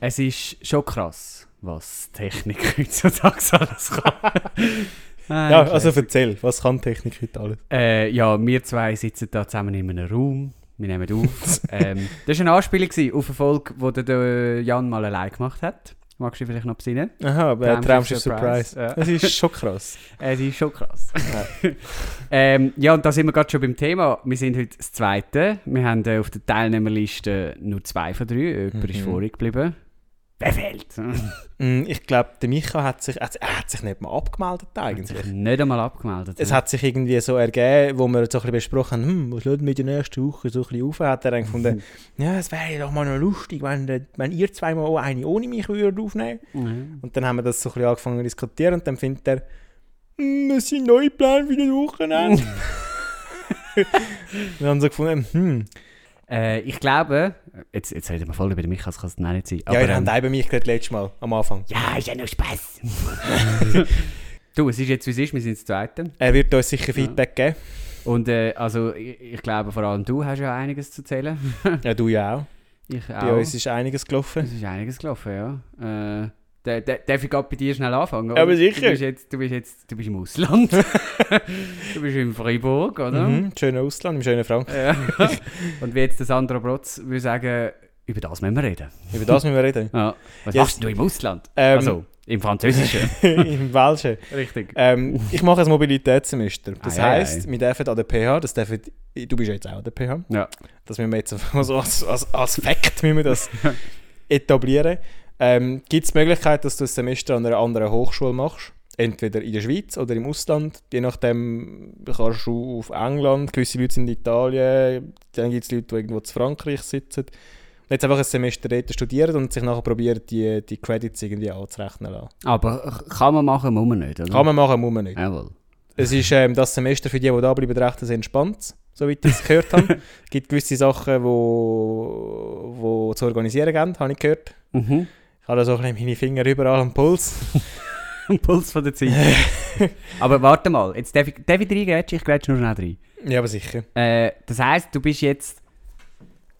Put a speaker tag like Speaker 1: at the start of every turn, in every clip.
Speaker 1: Es ist schon krass, was Technik heutzutage alles kann. Nein,
Speaker 2: Ja, also erzähl, was kann Technik heute alles?
Speaker 1: Äh, ja, wir zwei sitzen da zusammen in einem Raum. Wir nehmen auf. ähm, das war eine Anspielung gewesen auf eine Folge, die der, der Jan mal allein gemacht hat. Magst du dich vielleicht noch besinnen?
Speaker 2: Aha, bei
Speaker 1: Traumschiff
Speaker 2: Traumschiff Surprise.
Speaker 1: Surprise, ja.
Speaker 2: Das ist schon krass.
Speaker 1: Es ist schon krass. ähm, ja, und da sind wir gerade schon beim Thema. Wir sind heute das Zweite. Wir haben äh, auf der Teilnehmerliste nur zwei von drei. Jemand ist
Speaker 2: Mhm.
Speaker 1: vorig geblieben. Wer fehlt?
Speaker 2: Mm, Ich glaube, der Micha hat sich, hat, er hat sich nicht mal abgemeldet eigentlich.
Speaker 1: Nicht einmal abgemeldet.
Speaker 2: Es hat sich irgendwie so ergeben, wo wir so ein bisschen besprochen haben, hm, was schaut mit der nächsten Woche so ein bisschen auf, hat er dann gefunden, ja, es wäre doch mal noch lustig, wenn, der- wenn ihr zweimal auch eine ohne mich würdet aufnehmen
Speaker 1: Mhm.
Speaker 2: Und dann haben wir das so ein bisschen angefangen zu diskutieren und dann findet er, hm, es sind neue Pläne für das Wochenende. wir haben so gefunden, hm,
Speaker 1: Äh, ich glaube, jetzt, jetzt reden wir voll über den Michael, das kann es nicht sein.
Speaker 2: ja, ihr
Speaker 1: ähm,
Speaker 2: habt auch bei mich gerade letztes Mal, am Anfang.
Speaker 1: Ja, ist ja nur Spaß. du, es ist jetzt wie es ist, wir sind das Zweite.
Speaker 2: Er wird uns sicher Feedback geben.
Speaker 1: Und äh, also ich, ich glaube, vor allem du hast ja einiges zu zählen.
Speaker 2: Ja, du ja auch.
Speaker 1: Ich auch.
Speaker 2: Bei uns ist einiges gelaufen.
Speaker 1: es ist einiges gelaufen, ja. Äh, da- da- Darf ich gerade bei dir schnell anfangen?
Speaker 2: Aber
Speaker 1: oder?
Speaker 2: sicher.
Speaker 1: Du bist jetzt, du bist jetzt du bist im Ausland. du bist in Freiburg, oder?
Speaker 2: Mhm, schöner Ausland, im schönen Frank.
Speaker 1: Ja. Und wie jetzt der Sandro Brotz würde sagen, über das müssen wir reden.
Speaker 2: Über das müssen wir reden.
Speaker 1: Ja. Was
Speaker 2: Jetzt-
Speaker 1: machst du im Ausland?
Speaker 2: Ähm,
Speaker 1: also, im Französischen.
Speaker 2: Im Welschen.
Speaker 1: Richtig.
Speaker 2: Ähm, ich mache ein Mobilitätssemester. Das
Speaker 1: Ei, ei,
Speaker 2: heisst, wir dürfen an der PH, das dürfen, du bist jetzt auch an der PH,
Speaker 1: Ja.
Speaker 2: das müssen wir jetzt einfach mal so als, als, als Fakt müssen wir das etablieren. Ähm, Gibt es die Möglichkeit, dass du ein Semester an einer anderen Hochschule machst? Entweder in der Schweiz oder im Ausland. Je nachdem kannst du auf England, gewisse Leute sind in Italien, dann gibt es Leute, die irgendwo zu Frankreich sitzen. Und jetzt einfach ein Semester dort studieren und sich nachher probieren, die, die Credits irgendwie anzurechnen lassen.
Speaker 1: Aber kann man machen, muss man nicht, oder?
Speaker 2: Kann man machen, muss man nicht.
Speaker 1: Jawohl.
Speaker 2: Es ist ähm, das Semester für die, die da bleiben, recht ein entspannt, soweit ich es gehört habe. Es gibt gewisse Sachen, die wo, wo zu organisieren gehen, habe ich gehört.
Speaker 1: Mhm.
Speaker 2: Ich habe da so ein bisschen meine Finger überall am Puls.
Speaker 1: Puls von der Zeit. Aber warte mal, jetzt darf ich, darf ich reingrätschen? Ich grätsche nur schnell
Speaker 2: Ja, aber sicher.
Speaker 1: rein. Äh, das heisst, du bist jetzt...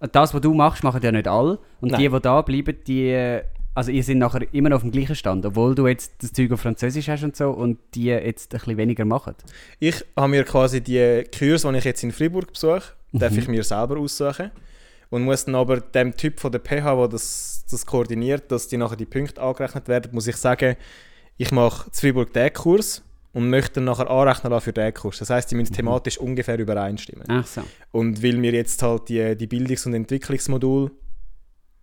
Speaker 1: und Das, was du machst, machen ja nicht alle. Und
Speaker 2: Nein.
Speaker 1: die, die da bleiben, die... äh, Also ihr seid nachher immer noch auf dem gleichen Stand, obwohl du jetzt das Zeug auf Französisch hast und so und die jetzt ein bisschen weniger machen.
Speaker 2: Ich habe mir quasi die Kurse, die ich jetzt in Freiburg besuche, darf ich mir selber aussuchen. Und muss dann aber dem Typ von der PH, der das, das koordiniert, dass die nachher die Punkte angerechnet werden, muss ich sagen, ich mache in Freiburg den Kurs und möchte dann nachher anrechnen lassen für den Kurs. Das heisst, die müssen thematisch ungefähr übereinstimmen.
Speaker 1: Ach so.
Speaker 2: Und weil wir jetzt halt die, die Bildungs- und Entwicklungsmodule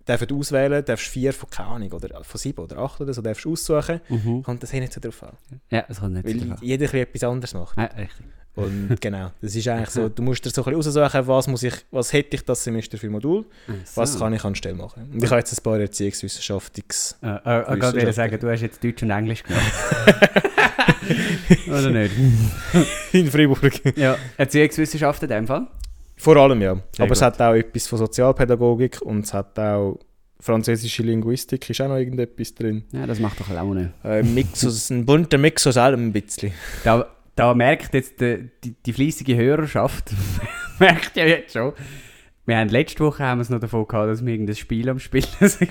Speaker 2: dürfen auswählen, darfst du vier von, keine Ahnung, oder äh, von sieben oder acht oder so darfst du aussuchen,
Speaker 1: Mhm.
Speaker 2: kommt das hier nicht so drauf an.
Speaker 1: Ja, das kommt nicht
Speaker 2: Weil
Speaker 1: so drauf an.
Speaker 2: jeder ein bisschen etwas anderes macht.
Speaker 1: Ja, richtig.
Speaker 2: Und genau, das ist eigentlich so, du musst dir so ein bisschen aussuchen, was, muss ich, was hätte ich das Semester für Modul,
Speaker 1: Ach so.
Speaker 2: was kann ich anstelle machen. Und ich habe jetzt ein paar Erziehungswissenschaftlungs...
Speaker 1: Äh, äh, ich
Speaker 2: Wissenschaftler.
Speaker 1: wollte sagen, du hast jetzt Deutsch und Englisch genommen. Oder nicht?
Speaker 2: in Freiburg.
Speaker 1: Ja, Erziehungswissenschaften in dem Fall.
Speaker 2: Vor allem ja.
Speaker 1: Sehr
Speaker 2: Aber es
Speaker 1: gut.
Speaker 2: hat auch etwas von Sozialpädagogik und es hat auch französische Linguistik, ist auch noch irgendetwas drin.
Speaker 1: Ja, das macht doch Laune.
Speaker 2: Ein, Mix aus, Äh, ein bunter Mix aus allem ein bisschen.
Speaker 1: Da, da merkt jetzt die, die, die fleissige Hörerschaft, merkt ja jetzt schon, wir haben letzte Woche haben wir es noch davon gehabt, dass wir irgendein Spiel am Spielen sind.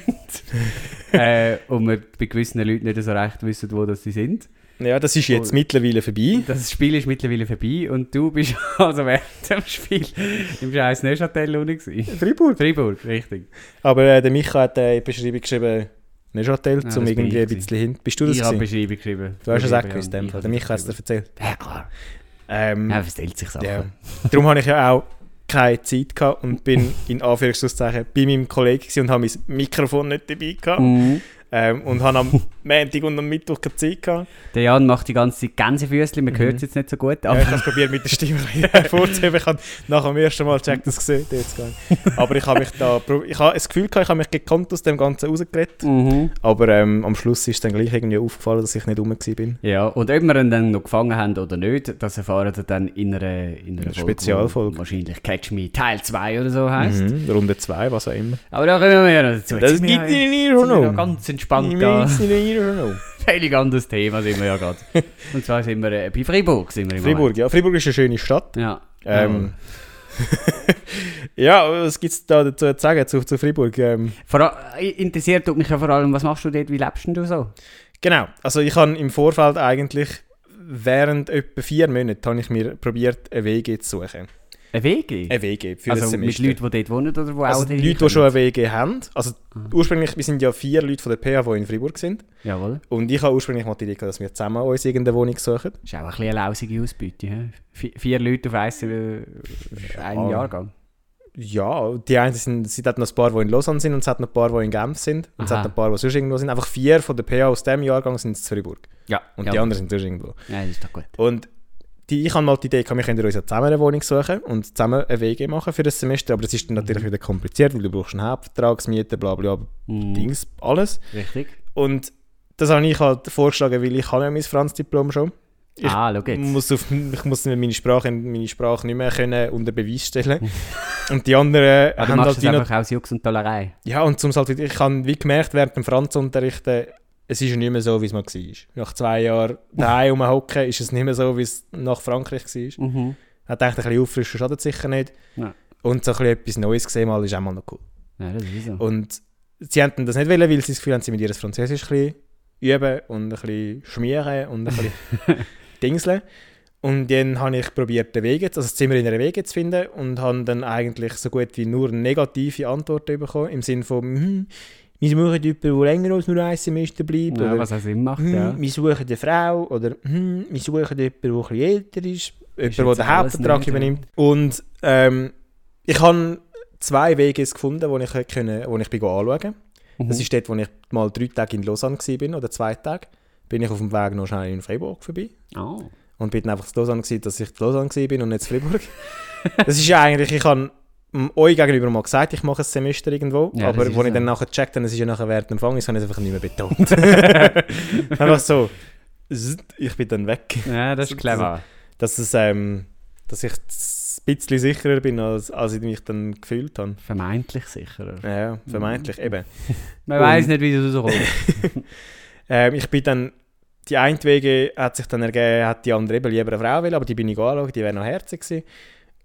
Speaker 1: äh, und wir bei gewissen Leuten nicht so recht wissen, wo das sie sind.
Speaker 2: Ja, das ist jetzt
Speaker 1: Voll.
Speaker 2: mittlerweile vorbei.
Speaker 1: Das Spiel ist mittlerweile vorbei und du bist also während dem Spiel im scheiß Neuchâtel unten gewesen.
Speaker 2: Freiburg.
Speaker 1: Freiburg, richtig.
Speaker 2: Aber äh, der Micha hat äh, in die Beschreibung geschrieben, Neuchâtel,
Speaker 1: Ah,
Speaker 2: zum
Speaker 1: das bin
Speaker 2: um irgendwie
Speaker 1: ich
Speaker 2: ein bisschen hin. Bist du das
Speaker 1: ich habe
Speaker 2: gewesen?
Speaker 1: Beschreibung geschrieben.
Speaker 2: Du hast es
Speaker 1: Ich
Speaker 2: auch
Speaker 1: habe-
Speaker 2: gewusst, in dem
Speaker 1: ich
Speaker 2: Fall.
Speaker 1: habe
Speaker 2: Der Micha hat es dir erzählt.
Speaker 1: Ja, klar.
Speaker 2: Ähm,
Speaker 1: Er verstellt sich Sachen.
Speaker 2: ja. Darum habe ich ja auch keine Zeit gehabt und bin in Anführungszeichen bei meinem Kollegen gewesen und habe mein Mikrofon nicht dabei gehabt.
Speaker 1: Mhm.
Speaker 2: Ähm, und habe am Montag und am Mittwoch keine Zeit gehabt.
Speaker 1: Der Jan macht die ganze Zeit Gänsefüßchen,
Speaker 2: Mhm.
Speaker 1: man hört es jetzt nicht so gut,
Speaker 2: Ja,
Speaker 1: aber
Speaker 2: ich habe es probiert mit der Stimme ein bisschen hervorzuheben. Ich habe nach dem ersten Mal checkt das gesehen. Jetzt gar nicht. Aber ich habe mich da, prob- ich habe das Gefühl gehabt, ich habe mich gekonnt aus dem Ganzen rausgeredet.
Speaker 1: Mhm.
Speaker 2: Aber ähm, am Schluss ist dann gleich irgendwie aufgefallen, dass ich nicht rum war. bin.
Speaker 1: Ja, und ob wir ihn dann noch gefangen haben oder nicht, das erfahren wir dann in einer, in einer
Speaker 2: Eine
Speaker 1: Folge,
Speaker 2: Spezialfolge.
Speaker 1: die Wahrscheinlich Catch Me Teil 2 oder so heisst.
Speaker 2: Mhm, Runde 2, was auch immer.
Speaker 1: Aber da kommen wir ja noch dazu. Jetzt sind wir ja-
Speaker 2: nicht
Speaker 1: sind wir ja ganz entspannt da.
Speaker 2: in Irrnung.
Speaker 1: Völlig anderes Thema sind wir ja gerade. Und zwar sind wir äh, bei Freiburg. Sind wir im
Speaker 2: Fribourg, ja. Fribourg ist eine schöne Stadt.
Speaker 1: Moment. Ja.
Speaker 2: Ähm, ja, was gibt es da dazu zu sagen zu, zu Freiburg? Ähm,
Speaker 1: Vor all- interessiert tut mich ja vor allem, was machst du dort, wie lebst denn du so?
Speaker 2: genau, also ich habe im Vorfeld eigentlich während etwa vier Monaten habe ich mir probiert, eine WG zu suchen.
Speaker 1: Eine WG?
Speaker 2: Eine WG für ein
Speaker 1: also mit
Speaker 2: Semester.
Speaker 1: Leuten, die dort wohnen oder wo
Speaker 2: also
Speaker 1: auch Mhm.
Speaker 2: die
Speaker 1: dahin
Speaker 2: Leute, die schon
Speaker 1: kommen?
Speaker 2: eine WG haben. Also ursprünglich, wir sind ja vier Leute von der PH, die in Freiburg sind.
Speaker 1: Jawohl.
Speaker 2: Und ich habe ursprünglich mal die Idee, gehabt, dass wir zusammen uns irgendeine Wohnung suchen.
Speaker 1: Das ist auch ein bisschen eine lausige Ausbeute. He? Vi- Vier Leute auf einen, äh, einen Jahrgang.
Speaker 2: Ja, die einen sind, es hat noch ein paar, die in Lausanne sind und es hat noch ein paar, die in Genf sind. Und es
Speaker 1: Aha.
Speaker 2: hat noch ein paar, die sonst irgendwo sind. Einfach vier von der PA aus diesem Jahrgang sind in Freiburg.
Speaker 1: Ja.
Speaker 2: Und
Speaker 1: ja.
Speaker 2: die anderen sind sonst irgendwo.
Speaker 1: Nein, das ist doch gut.
Speaker 2: Und die, ich habe mal die Idee, gehabt, wir können uns ja zusammen eine Wohnung suchen und zusammen eine WG machen für das Semester. Aber das ist dann
Speaker 1: Mhm.
Speaker 2: natürlich wieder kompliziert, weil du brauchst einen Hauptvertragsmieter, bla bla, bla
Speaker 1: Mhm.
Speaker 2: Dings, alles.
Speaker 1: Richtig.
Speaker 2: Und das habe ich halt vorgeschlagen, weil ich habe ja mein Franz-Diplom schon. Ich
Speaker 1: ah, schau jetzt.
Speaker 2: muss auf, ich muss meine Sprache, meine Sprache nicht mehr können unter Beweis stellen. und die anderen
Speaker 1: Aber du
Speaker 2: haben
Speaker 1: machst
Speaker 2: halt
Speaker 1: das
Speaker 2: wie noch
Speaker 1: einfach aus Jux und Tollerei.
Speaker 2: Ja, und zum halt, wieder- ich habe wie gemerkt während dem Franzunterricht, äh, es ist ja nicht mehr so, wie es mal war. Nach zwei Jahren daheim rumhocken, ist es nicht mehr so, wie es nach Frankreich war. Ich
Speaker 1: Mhm.
Speaker 2: dachte, ein bisschen auffrischen schadet sicher nicht.
Speaker 1: Nein.
Speaker 2: Und so ein bisschen etwas Neues gesehen mal, ist auch mal noch cool.
Speaker 1: Ja, das ist so.
Speaker 2: Und sie haben das nicht wollen, weil sie das Gefühl haben, sie mit ihr Französisch ein bisschen üben und ein bisschen schmieren und ein bisschen dingseln. Und dann habe ich probiert, den Weg, jetzt- also das Zimmer in einer Wege zu finden und habe dann eigentlich so gut wie nur negative Antworten bekommen, im Sinne von «Hm, «Wir suchen jemanden, der länger als nur ein Semester bleibt»
Speaker 1: ja,
Speaker 2: oder
Speaker 1: was auch Sinn macht,
Speaker 2: «Hm,
Speaker 1: ja.
Speaker 2: «Wir suchen eine Frau» oder «Hm, «Wir suchen jemanden, der ein bisschen älter ist», jemand,
Speaker 1: Ist
Speaker 2: der
Speaker 1: jetzt
Speaker 2: den
Speaker 1: alles
Speaker 2: Hauptvertrag
Speaker 1: nicht, ja.
Speaker 2: übernimmt. Und ähm, ich habe zwei Wege gefunden, die ich, können, wo ich bin anschauen konnte.
Speaker 1: Mhm.
Speaker 2: Das ist dort, wo ich mal drei Tage in Lausanne war, oder zwei Tage. Bin ich auf dem Weg noch schnell in Freiburg vorbei.
Speaker 1: Oh.
Speaker 2: Und bin dann einfach zu Lausanne gewesen, dass ich zu Lausanne war und nicht zu Freiburg. das ist ja eigentlich, ich habe m- euch gegenüber mal gesagt, ich mache ein Semester irgendwo.
Speaker 1: Ja, das
Speaker 2: aber
Speaker 1: ist
Speaker 2: als ich
Speaker 1: so.
Speaker 2: dann nachher gecheckt habe, es ist ja nachher während dem Fang, habe ich es einfach nicht mehr betont. einfach so, zzt, ich bin dann weg.
Speaker 1: Ja, das ist clever.
Speaker 2: Dass, es, ähm, dass ich ein bisschen sicherer bin, als, als ich mich dann gefühlt habe.
Speaker 1: Vermeintlich sicherer.
Speaker 2: Ja, vermeintlich, eben.
Speaker 1: Man
Speaker 2: Und-
Speaker 1: weiß nicht, wie es rauskommt.
Speaker 2: Ähm, ich bin dann, die eine Wege hat sich dann ergeben, hat die andere eben lieber eine Frau will, aber die bin ich angeschaut, die wäre noch herzig gewesen.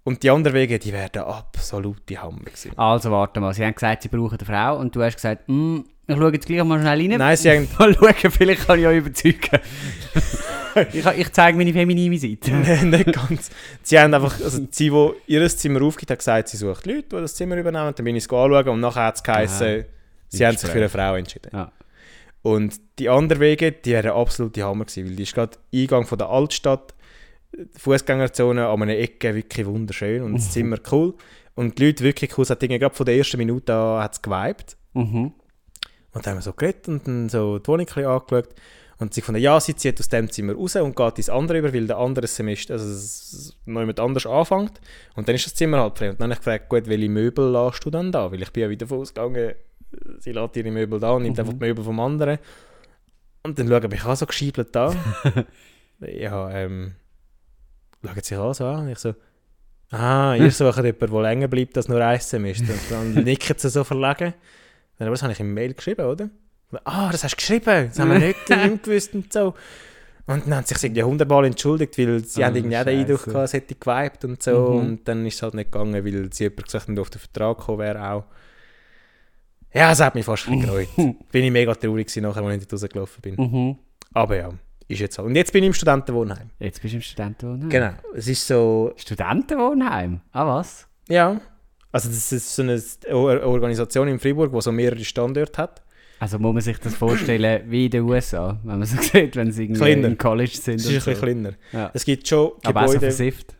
Speaker 2: Und die anderen Wege, die wären der absolute Hammer gewesen.
Speaker 1: also, warte mal. Sie haben gesagt, sie brauchen eine Frau. Und du hast gesagt, «Hm, ich schaue jetzt gleich mal schnell rein.
Speaker 2: Nein, sie haben,
Speaker 1: Mal schauen, vielleicht kann ich euch überzeugen. ich, ich zeige meine feminine Seite.
Speaker 2: Nein, nicht ganz. Sie haben einfach, also sie, die ihr Zimmer aufgibt, hat gesagt, sie sucht Leute, die das Zimmer übernehmen, dann bin ich es anschauen und nachher hat es geheißen, sie haben sich für eine Frau entschieden.
Speaker 1: Ja.
Speaker 2: Und die anderen Wege, die wären absolute Hammer gewesen, weil die ist gerade Eingang von der Altstadt, Fußgängerzone an einer Ecke wirklich wunderschön und
Speaker 1: Mhm.
Speaker 2: das Zimmer cool. Und die Leute wirklich cool, es hat irgendwie gerade von der ersten Minute an hat's geweibt.
Speaker 1: Mhm.
Speaker 2: Und dann haben wir so geredet und dann so die Wohnung ein bisschen angeschaut. Und sie gefunden, ja, sie zieht aus dem Zimmer raus und geht ins andere über, weil der andere Semester, also es- noch jemand anders anfängt. Und dann ist das Zimmer halt frei. Und dann habe ich gefragt, gut, welche Möbel lässt du dann da? Weil ich bin ja wieder davon ausgegangen, sie lässt ihre Möbel da und nimmt einfach die Möbel vom anderen. Und dann schaue ich auch so geschiebelt da. ja, ähm, schauen sich auch so an. Und ich so, ah, ihr sucht jemanden, der länger bleibt als nur ein Semester. Und dann nicken sie so verlegen. Dann, aber das habe ich im Mail geschrieben, oder? Ah, das hast du geschrieben, das haben wir nicht, nicht gewusst und so. Und dann haben sie sich irgendwie hundertmal entschuldigt, weil sie
Speaker 1: Ah,
Speaker 2: haben irgendwie auch den
Speaker 1: Scheiße.
Speaker 2: Eindruck gehabt, es hätte geweibt und so.
Speaker 1: Mhm.
Speaker 2: Und dann ist es halt nicht gegangen, weil sie jemand gesagt hat, auf den Vertrag gekommen wäre auch. Ja, es hat mich fast ein bisschen gereut. Bin ich mega traurig gewesen, nachher, als ich dort rausgelaufen bin.
Speaker 1: Mhm.
Speaker 2: Aber ja, ist jetzt so. Und jetzt bin ich im Studentenwohnheim.
Speaker 1: Jetzt bist du im Studentenwohnheim.
Speaker 2: Genau, es ist so,
Speaker 1: Studentenwohnheim? Ah, was?
Speaker 2: ja. Also das ist so eine Or- Organisation in Freiburg, die so mehrere Standorte hat.
Speaker 1: Also muss man sich das vorstellen wie in den USA, wenn man so sieht, wenn sie irgendwie
Speaker 2: Kleiner.
Speaker 1: im College sind.
Speaker 2: Es
Speaker 1: und
Speaker 2: ist ein
Speaker 1: so.
Speaker 2: bisschen kleiner.
Speaker 1: Ja.
Speaker 2: Es gibt schon
Speaker 1: Aber auch so
Speaker 2: Gebäude...
Speaker 1: versifft.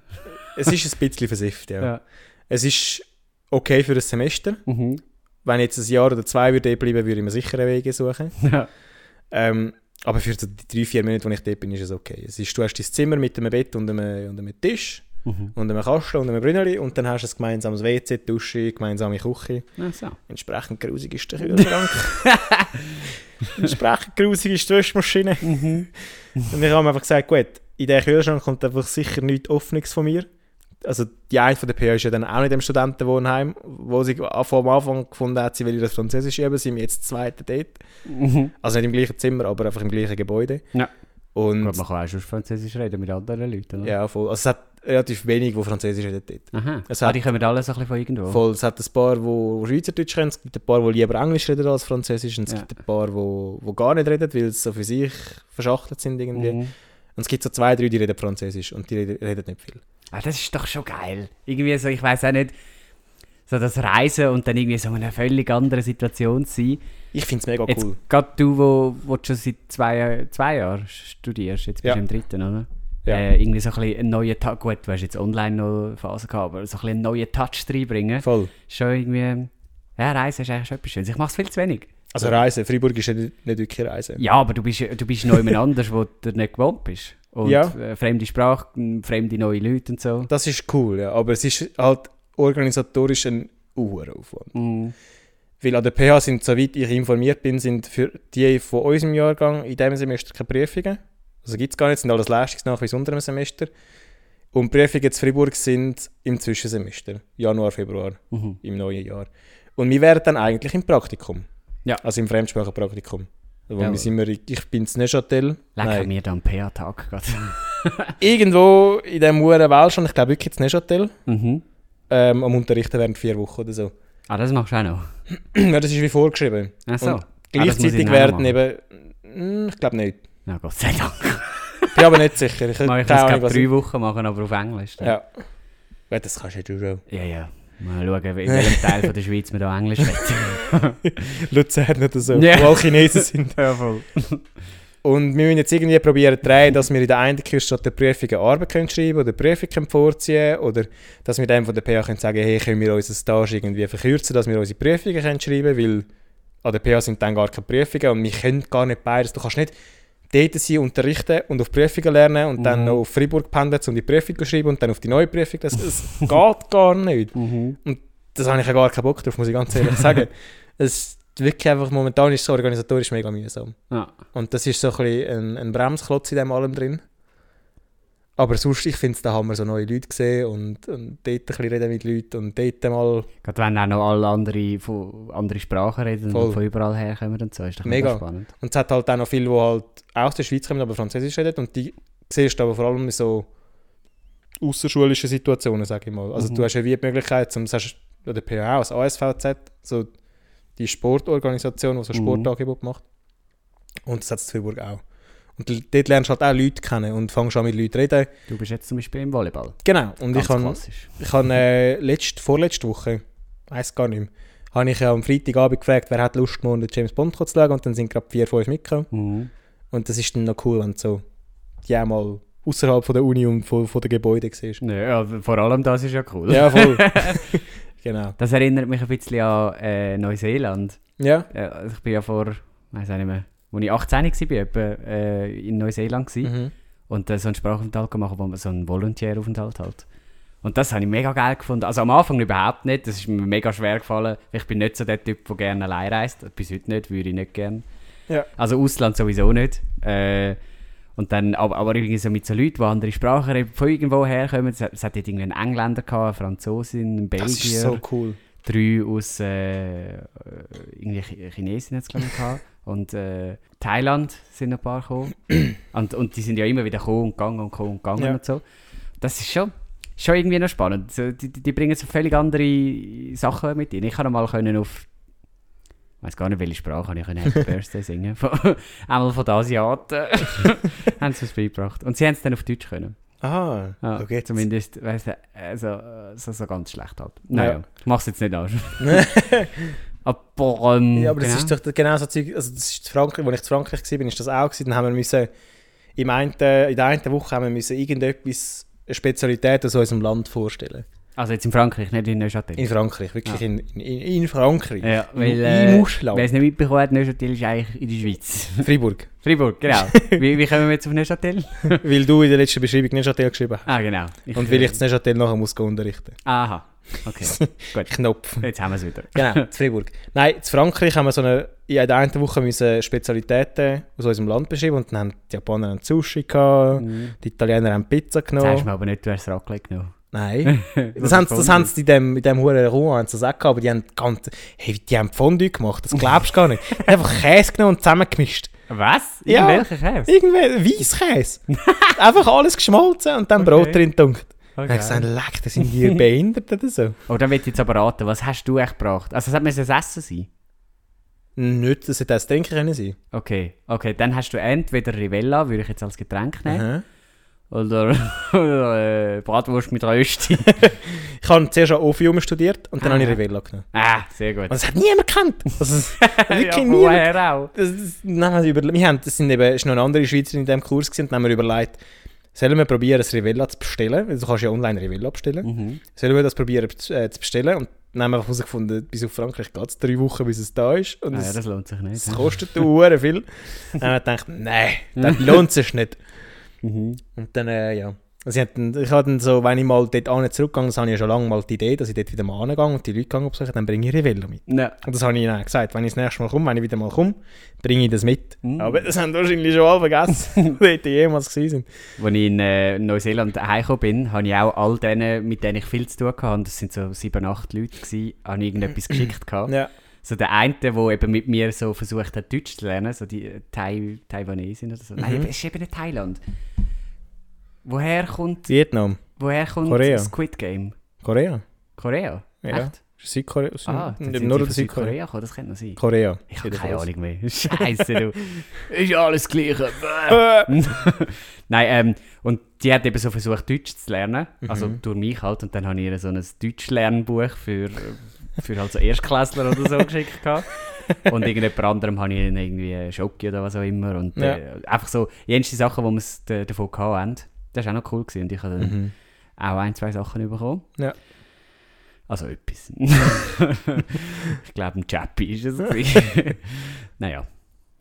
Speaker 2: es ist ein bisschen versifft, ja.
Speaker 1: Ja.
Speaker 2: Es ist okay für ein Semester.
Speaker 1: Mhm.
Speaker 2: Wenn jetzt ein Jahr oder zwei würde dort bleiben, würde ich mir sicher einen Weg suchen.
Speaker 1: Ja.
Speaker 2: Ähm, aber für so die drei, vier Minuten, die ich dort bin, ist es okay. Es ist, du hast dein Zimmer mit einem Bett und einem, und einem Tisch
Speaker 1: Mhm.
Speaker 2: und einem Kasten und einem Brünneli und dann hast du ein gemeinsames WC, Dusche, gemeinsame Küche.
Speaker 1: Ach so.
Speaker 2: Entsprechend grusig ist der Kühlschrank. Entsprechend grusig ist die Waschmaschine. Und ich habe mir einfach gesagt, gut, in diesen Kühlschrank kommt einfach sicher nichts Offenes von mir. Also die eine von der PA ist ja dann auch nicht im Studentenwohnheim, wo sie vom Anfang gefunden hat, sie will ihr das Französisch üben, sind wir jetzt zweite dort.
Speaker 1: Mhm.
Speaker 2: Also nicht im gleichen Zimmer, aber einfach im gleichen Gebäude.
Speaker 1: Ja.
Speaker 2: Und
Speaker 1: Gut, man kann auch schon Französisch reden mit anderen Leuten. Oder?
Speaker 2: ja, voll. Also es hat relativ wenig, die Französisch reden dort.
Speaker 1: Aha.
Speaker 2: Es
Speaker 1: ah,
Speaker 2: hat-
Speaker 1: die kommen alles ein bisschen von irgendwo.
Speaker 2: Voll, es hat ein paar, die Schweizerdeutsch können, es gibt ein paar, die lieber Englisch reden als Französisch und es
Speaker 1: Ja.
Speaker 2: gibt ein paar, die die gar nicht reden, weil sie so für sich verschachtelt sind irgendwie.
Speaker 1: Mhm.
Speaker 2: Und es gibt so zwei, drei, die reden Französisch und die reden, reden nicht viel.
Speaker 1: Ah, das ist doch schon geil. Irgendwie so, ich weiß auch nicht, so das Reisen und dann irgendwie so in einer völlig anderen Situation zu sein.
Speaker 2: Ich finde es mega
Speaker 1: Jetzt
Speaker 2: Oh, cool.
Speaker 1: gerade du, wo, wo du schon seit zwei, zwei Jahren studierst, jetzt bist
Speaker 2: Ja.
Speaker 1: du im dritten, oder?
Speaker 2: Ja.
Speaker 1: Äh, irgendwie so ein bisschen einen neuen Touch, gut, du hast jetzt online noch eine Phase gehabt, aber so ein bisschen einen neuen Touch reinbringen,
Speaker 2: Voll.
Speaker 1: schon irgendwie, ja, Reisen ist eigentlich schon etwas Schönes. Ich mache es viel zu wenig.
Speaker 2: Also Reisen, Freiburg ist ja nicht, nicht wirklich Reisen.
Speaker 1: Ja, aber du bist, du bist noch jemand anders, wo du nicht gewohnt bist. Und
Speaker 2: Ja.
Speaker 1: äh, fremde Sprache, m, fremde neue Leute und so.
Speaker 2: Das ist cool, ja. aber es ist halt organisatorisch ein Uhrenaufwand.
Speaker 1: Mm.
Speaker 2: Weil an der PH sind, soweit ich informiert bin, sind für die von unserem Jahrgang in diesem Semester keine Prüfungen. Also gibt es gar nicht, sind alles Leistungsnachweise unter dem Semester. Und die Prüfungen in Freiburg sind im Zwischensemester, Januar, Februar,
Speaker 1: Mhm.
Speaker 2: im neuen Jahr. Und wir wären dann eigentlich im Praktikum.
Speaker 1: Ja.
Speaker 2: Also im Fremdsprachenpraktikum. Wo
Speaker 1: Jawohl.
Speaker 2: wir sind wir, ich bin in Neuchâtel.
Speaker 1: Lecker
Speaker 2: Nein.
Speaker 1: mir dann PA-Tag gerade.
Speaker 2: Irgendwo in diesem Uhren Welt schon, ich glaube wirklich in Neuchâtel,
Speaker 1: mhm.
Speaker 2: ähm, am Unterrichten während vier Wochen oder so.
Speaker 1: Ah, das machst du auch noch.
Speaker 2: ja, das ist wie vorgeschrieben.
Speaker 1: Ach so.
Speaker 2: Und
Speaker 1: Ah, das muss ich
Speaker 2: Gleichzeitig
Speaker 1: dann auch
Speaker 2: werden
Speaker 1: machen.
Speaker 2: eben. Mm, Ich glaube nicht.
Speaker 1: Na Gott sei Dank.
Speaker 2: Bin aber nicht sicher. Ich
Speaker 1: Mal
Speaker 2: keine
Speaker 1: ich das
Speaker 2: Ahnung,
Speaker 1: gerade
Speaker 2: was-
Speaker 1: drei Wochen machen, aber auf Englisch. dann.
Speaker 2: Ja. ja. Das kannst ja du auch.
Speaker 1: Ja, ja. Mal schauen, wie- in welchem Teil von der Schweiz wir da Englisch reden.
Speaker 2: Luzern oder so,
Speaker 1: Ja.
Speaker 2: wo alle Chinesen sind.
Speaker 1: ja, voll.
Speaker 2: Und wir müssen jetzt irgendwie probieren zu drehen, dass wir in der einen Küste statt der Prüfung eine Arbeit können schreiben oder Prüfung können vorziehen oder dass wir dem von der PH können sagen hey, können wir unseren Stage irgendwie verkürzen, dass wir unsere Prüfungen können schreiben weil an der PH sind dann gar keine Prüfungen und wir können gar nicht beides. Du kannst nicht dort sein, unterrichten und auf Prüfungen lernen und dann
Speaker 1: Mhm.
Speaker 2: noch auf Freiburg pendeln, um die Prüfung zu schreiben und dann auf die neue Prüfung. Das, das geht gar nicht.
Speaker 1: Mhm.
Speaker 2: Das habe ich ja gar keinen Bock drauf, muss ich ganz ehrlich sagen. Es ist wirklich einfach, momentan ist es organisatorisch mega mühsam.
Speaker 1: Ja.
Speaker 2: Und das ist so ein, bisschen ein, ein Bremsklotz in dem allem drin. Aber sonst, ich finde es, da haben wir so neue Leute gesehen und, und dort ein bisschen reden mit Leuten und dort mal
Speaker 1: Gerade wenn auch noch alle andere, von, andere Sprachen reden
Speaker 2: Voll.
Speaker 1: und von überall herkommen und so, ist doch
Speaker 2: Mega.
Speaker 1: mega spannend.
Speaker 2: Und es hat halt auch noch viele, die halt auch aus der Schweiz kommen, aber Französisch reden. Und die siehst du aber vor allem in so außerschulischen Situationen, sage ich mal. Also
Speaker 1: Mhm.
Speaker 2: du hast ja wie die Möglichkeit, zum, das hast du an der PH, das ASVZ, so die Sportorganisation, die so
Speaker 1: Mhm.
Speaker 2: Sportangebote macht. Und das hat es in Freiburg auch. Und l- dort lernst du halt auch Leute kennen und fängst an mit Leuten reden.
Speaker 1: Du bist jetzt zum Beispiel im Volleyball.
Speaker 2: Genau. Und
Speaker 1: Ganz
Speaker 2: ich habe
Speaker 1: klassisch.
Speaker 2: ich habe äh, letzte, vorletzte Woche, weiß gar nicht mehr, habe ich ja am Freitagabend gefragt, wer hat Lust, morgen den James Bond zu schauen. Und dann sind gerade vier, fünf mitgekommen.
Speaker 1: Mhm.
Speaker 2: Und das ist dann noch cool, wenn du so die auch mal außerhalb von der Uni und von, von den Gebäuden siehst.
Speaker 1: Ja, ja, vor allem das ist ja cool.
Speaker 2: Ja, voll. genau.
Speaker 1: Das erinnert mich ein bisschen an äh, Neuseeland.
Speaker 2: Ja.
Speaker 1: Äh, also ich bin ja vor, weiß auch nicht mehr, als ich 18 war, bin, etwa, äh, in Neuseeland gsi
Speaker 2: Mhm.
Speaker 1: und äh, so einen Sprachaufenthalt gemacht, wo man so einen Volontäraufenthalt halt. Und das habe ich mega geil gefunden. Also am Anfang überhaupt nicht, das ist mir mega schwer gefallen. Ich bin nicht so der Typ, der gerne allein reist. Bis heute nicht, würde ich nicht gerne.
Speaker 2: Ja.
Speaker 1: Also Ausland sowieso nicht. Äh, und dann, aber, aber irgendwie so mit so Leuten, die andere Sprachen eben von irgendwo herkommen. Es hat, es hat dort irgendwie einen Engländer, gehabt, eine Franzosin, einen Belgier
Speaker 2: Das ist so cool.
Speaker 1: drei aus äh, äh, irgendwie Chi- Chinesen jetzt glaube ich gehabt. und äh, Thailand sind ein paar gekommen und, und die sind ja immer wieder gekommen und gegangen und gekommen und gegangen
Speaker 2: Ja.
Speaker 1: und so das ist schon schon irgendwie noch spannend so, die, die die bringen so völlig andere Sachen mit ihnen ich kann mal können auf ich weiß gar nicht, welche Sprache ich können Happy Birthday singen Von- Einmal von den Asiaten haben sie es beigebracht. Und sie haben es dann auf Deutsch können.
Speaker 2: Aha.
Speaker 1: Ja,
Speaker 2: so geht's.
Speaker 1: zumindest, weißt du, also, äh, so, so ganz schlecht halt. Naja,
Speaker 2: Ja.
Speaker 1: ich mach's jetzt nicht an. Aber, ähm,
Speaker 2: ja, aber das
Speaker 1: genau.
Speaker 2: ist doch das- genau so Zeug. Also das ist in Frankreich, als ich in Frankreich war, bin, ist das auch gewesen. Dann haben wir müssen, im einen, in der einen Woche haben wir müssen irgendetwas, eine Spezialität aus unserem Land vorstellen.
Speaker 1: Also jetzt in Frankreich, nicht in Neuchâtel.
Speaker 2: In Frankreich, wirklich
Speaker 1: Ja.
Speaker 2: in, in, in Frankreich.
Speaker 1: ja, weil,
Speaker 2: Im
Speaker 1: äh, wer
Speaker 2: Ausland.
Speaker 1: es nicht mitbekommen hat, Neuchâtel ist eigentlich in der Schweiz.
Speaker 2: Freiburg.
Speaker 1: Freiburg, genau. wie, wie kommen wir jetzt auf Neuchâtel?
Speaker 2: weil du in der letzten Beschreibung Neuchâtel geschrieben hast.
Speaker 1: Ah, genau. äh,
Speaker 2: Und weil ich das Neuchâtel nachher muss gehen unterrichten.
Speaker 1: Aha, okay.
Speaker 2: Knopf.
Speaker 1: Jetzt haben wir es wieder.
Speaker 2: Genau, zu Freiburg. Nein, in Frankreich haben wir so eine, in der einen Woche müssen Spezialitäten aus unserem Land beschreiben und dann haben die Japaner einen Sushi gehabt,
Speaker 1: Mhm.
Speaker 2: die Italiener haben Pizza
Speaker 1: Sagst
Speaker 2: genommen.
Speaker 1: mir aber nicht, du hast das Raclette genommen.
Speaker 2: Nein, das
Speaker 1: Was
Speaker 2: haben,
Speaker 1: ist
Speaker 2: sie- das
Speaker 1: Fondue?
Speaker 2: haben sie in dem, in dem hohen Raum haben sie das auch gehabt, aber die haben ganz, hey, die haben Fondue gemacht, das glaubst du gar nicht. Die haben einfach Käse genommen und zusammengemischt.
Speaker 1: Was?
Speaker 2: Ja.
Speaker 1: In welcher Käse?
Speaker 2: Irgendwie Weisskäse. einfach alles geschmolzen und dann Brot
Speaker 1: Okay.
Speaker 2: drin getunkt.
Speaker 1: Voll
Speaker 2: Dann habe ich gesagt, leck, das sind die behindert oder so.
Speaker 1: Oh, dann will ich jetzt aber raten, was hast du echt gebracht? Also, es hat müssen ein Essen sein.
Speaker 2: Nicht, das hätte auch das Trinken können sein.
Speaker 1: Okay, okay, dann hast du entweder Rivella, würde ich jetzt als Getränk nehmen,
Speaker 2: Aha.
Speaker 1: oder, oder äh, Bratwurst mit Rösti.
Speaker 2: Ich habe zuerst an Ophium studiert und dann habe ich
Speaker 1: Aha.
Speaker 2: Revella genommen.
Speaker 1: ah, sehr
Speaker 2: Und
Speaker 1: gut.
Speaker 2: das hat niemand gekannt. Also, das- wirklich
Speaker 1: ja,
Speaker 2: niemand.
Speaker 1: woher auch?
Speaker 2: Das, das, nein, wir, über, wir haben, das sind eben, ist noch eine andere Schweizerin in diesem Kurs gewesen, und dann haben wir überlegt, sollen wir probieren, ein Rivella zu bestellen? Weil Du kannst ja online Rivella bestellen.
Speaker 1: Mhm.
Speaker 2: Sollen wir das probieren zu- äh, zu bestellen? Und dann haben wir einfach herausgefunden, bis auf Frankreich geht es drei Wochen, bis es da ist. Und
Speaker 1: Ah, ja,
Speaker 2: es,
Speaker 1: das lohnt sich nicht.
Speaker 2: es kostet Uhren viel. dann haben wir gedacht, nein, das lohnt sich nicht.
Speaker 1: Mhm.
Speaker 2: Und dann, äh, ja. Also ich hatte, ich hatte so, wenn ich mal dort hin zurückgehe, das habe ich ja schon lange mal die Idee, dass ich dort wieder mal hingehe und die Leute gehe besuche, dann bringe ich Rivella mit.
Speaker 1: Ja.
Speaker 2: Und das habe ich ihnen auch gesagt, wenn ich das nächste Mal komme, wenn ich wieder mal komme, bringe ich das mit.
Speaker 1: Mhm.
Speaker 2: Aber das haben wahrscheinlich schon alle vergessen, die dort jemals gewesen sind.
Speaker 1: Als ich in äh, Neuseeland heimgekommen bin, habe ich auch all denen, mit denen ich viel zu tun hatte, und das sind so sieben, acht Leute, gewesen, habe ich irgendetwas geschickt. Gehabt.
Speaker 2: Ja.
Speaker 1: So der eine, der eben mit mir so versucht hat, Deutsch zu lernen, so die äh, Tai Taiwanesin oder so. Nein,
Speaker 2: Mhm.
Speaker 1: eben, es ist eben nicht Thailand. Woher kommt,
Speaker 2: Vietnam,
Speaker 1: woher kommt
Speaker 2: Korea.
Speaker 1: Squid Game?
Speaker 2: Korea.
Speaker 1: Korea?
Speaker 2: Ja.
Speaker 1: Echt?
Speaker 2: Südkorea. Süd
Speaker 1: Ah, dann sind
Speaker 2: Nord-
Speaker 1: die
Speaker 2: oder
Speaker 1: von
Speaker 2: Südkorea.
Speaker 1: Südkorea gekommen, das könnte noch sein.
Speaker 2: Korea.
Speaker 1: Ich habe keine Ahnung mehr. Scheiße, du. Ist ja alles Gleiche. Bäh.
Speaker 2: Äh,
Speaker 1: Nein, ähm, und die hat eben so versucht, Deutsch zu lernen.
Speaker 2: Mhm.
Speaker 1: Also durch mich halt. Und dann habe ich ihr so ein Deutschlernbuch für, für halt so Erstklässler oder so geschickt. Gehabt. Und irgendjemand anderem habe ich ihnen irgendwie Schoki oder was auch immer. Und äh, einfach so, jenste Sachen, wo wir es d- davon gehabt haben. Das war auch noch cool. Gewesen. Und ich habe dann
Speaker 2: mhm.
Speaker 1: auch ein, zwei Sachen bekommen.
Speaker 2: Ja.
Speaker 1: Also etwas. ich glaube, ein Chappi ist es. gewesen. naja.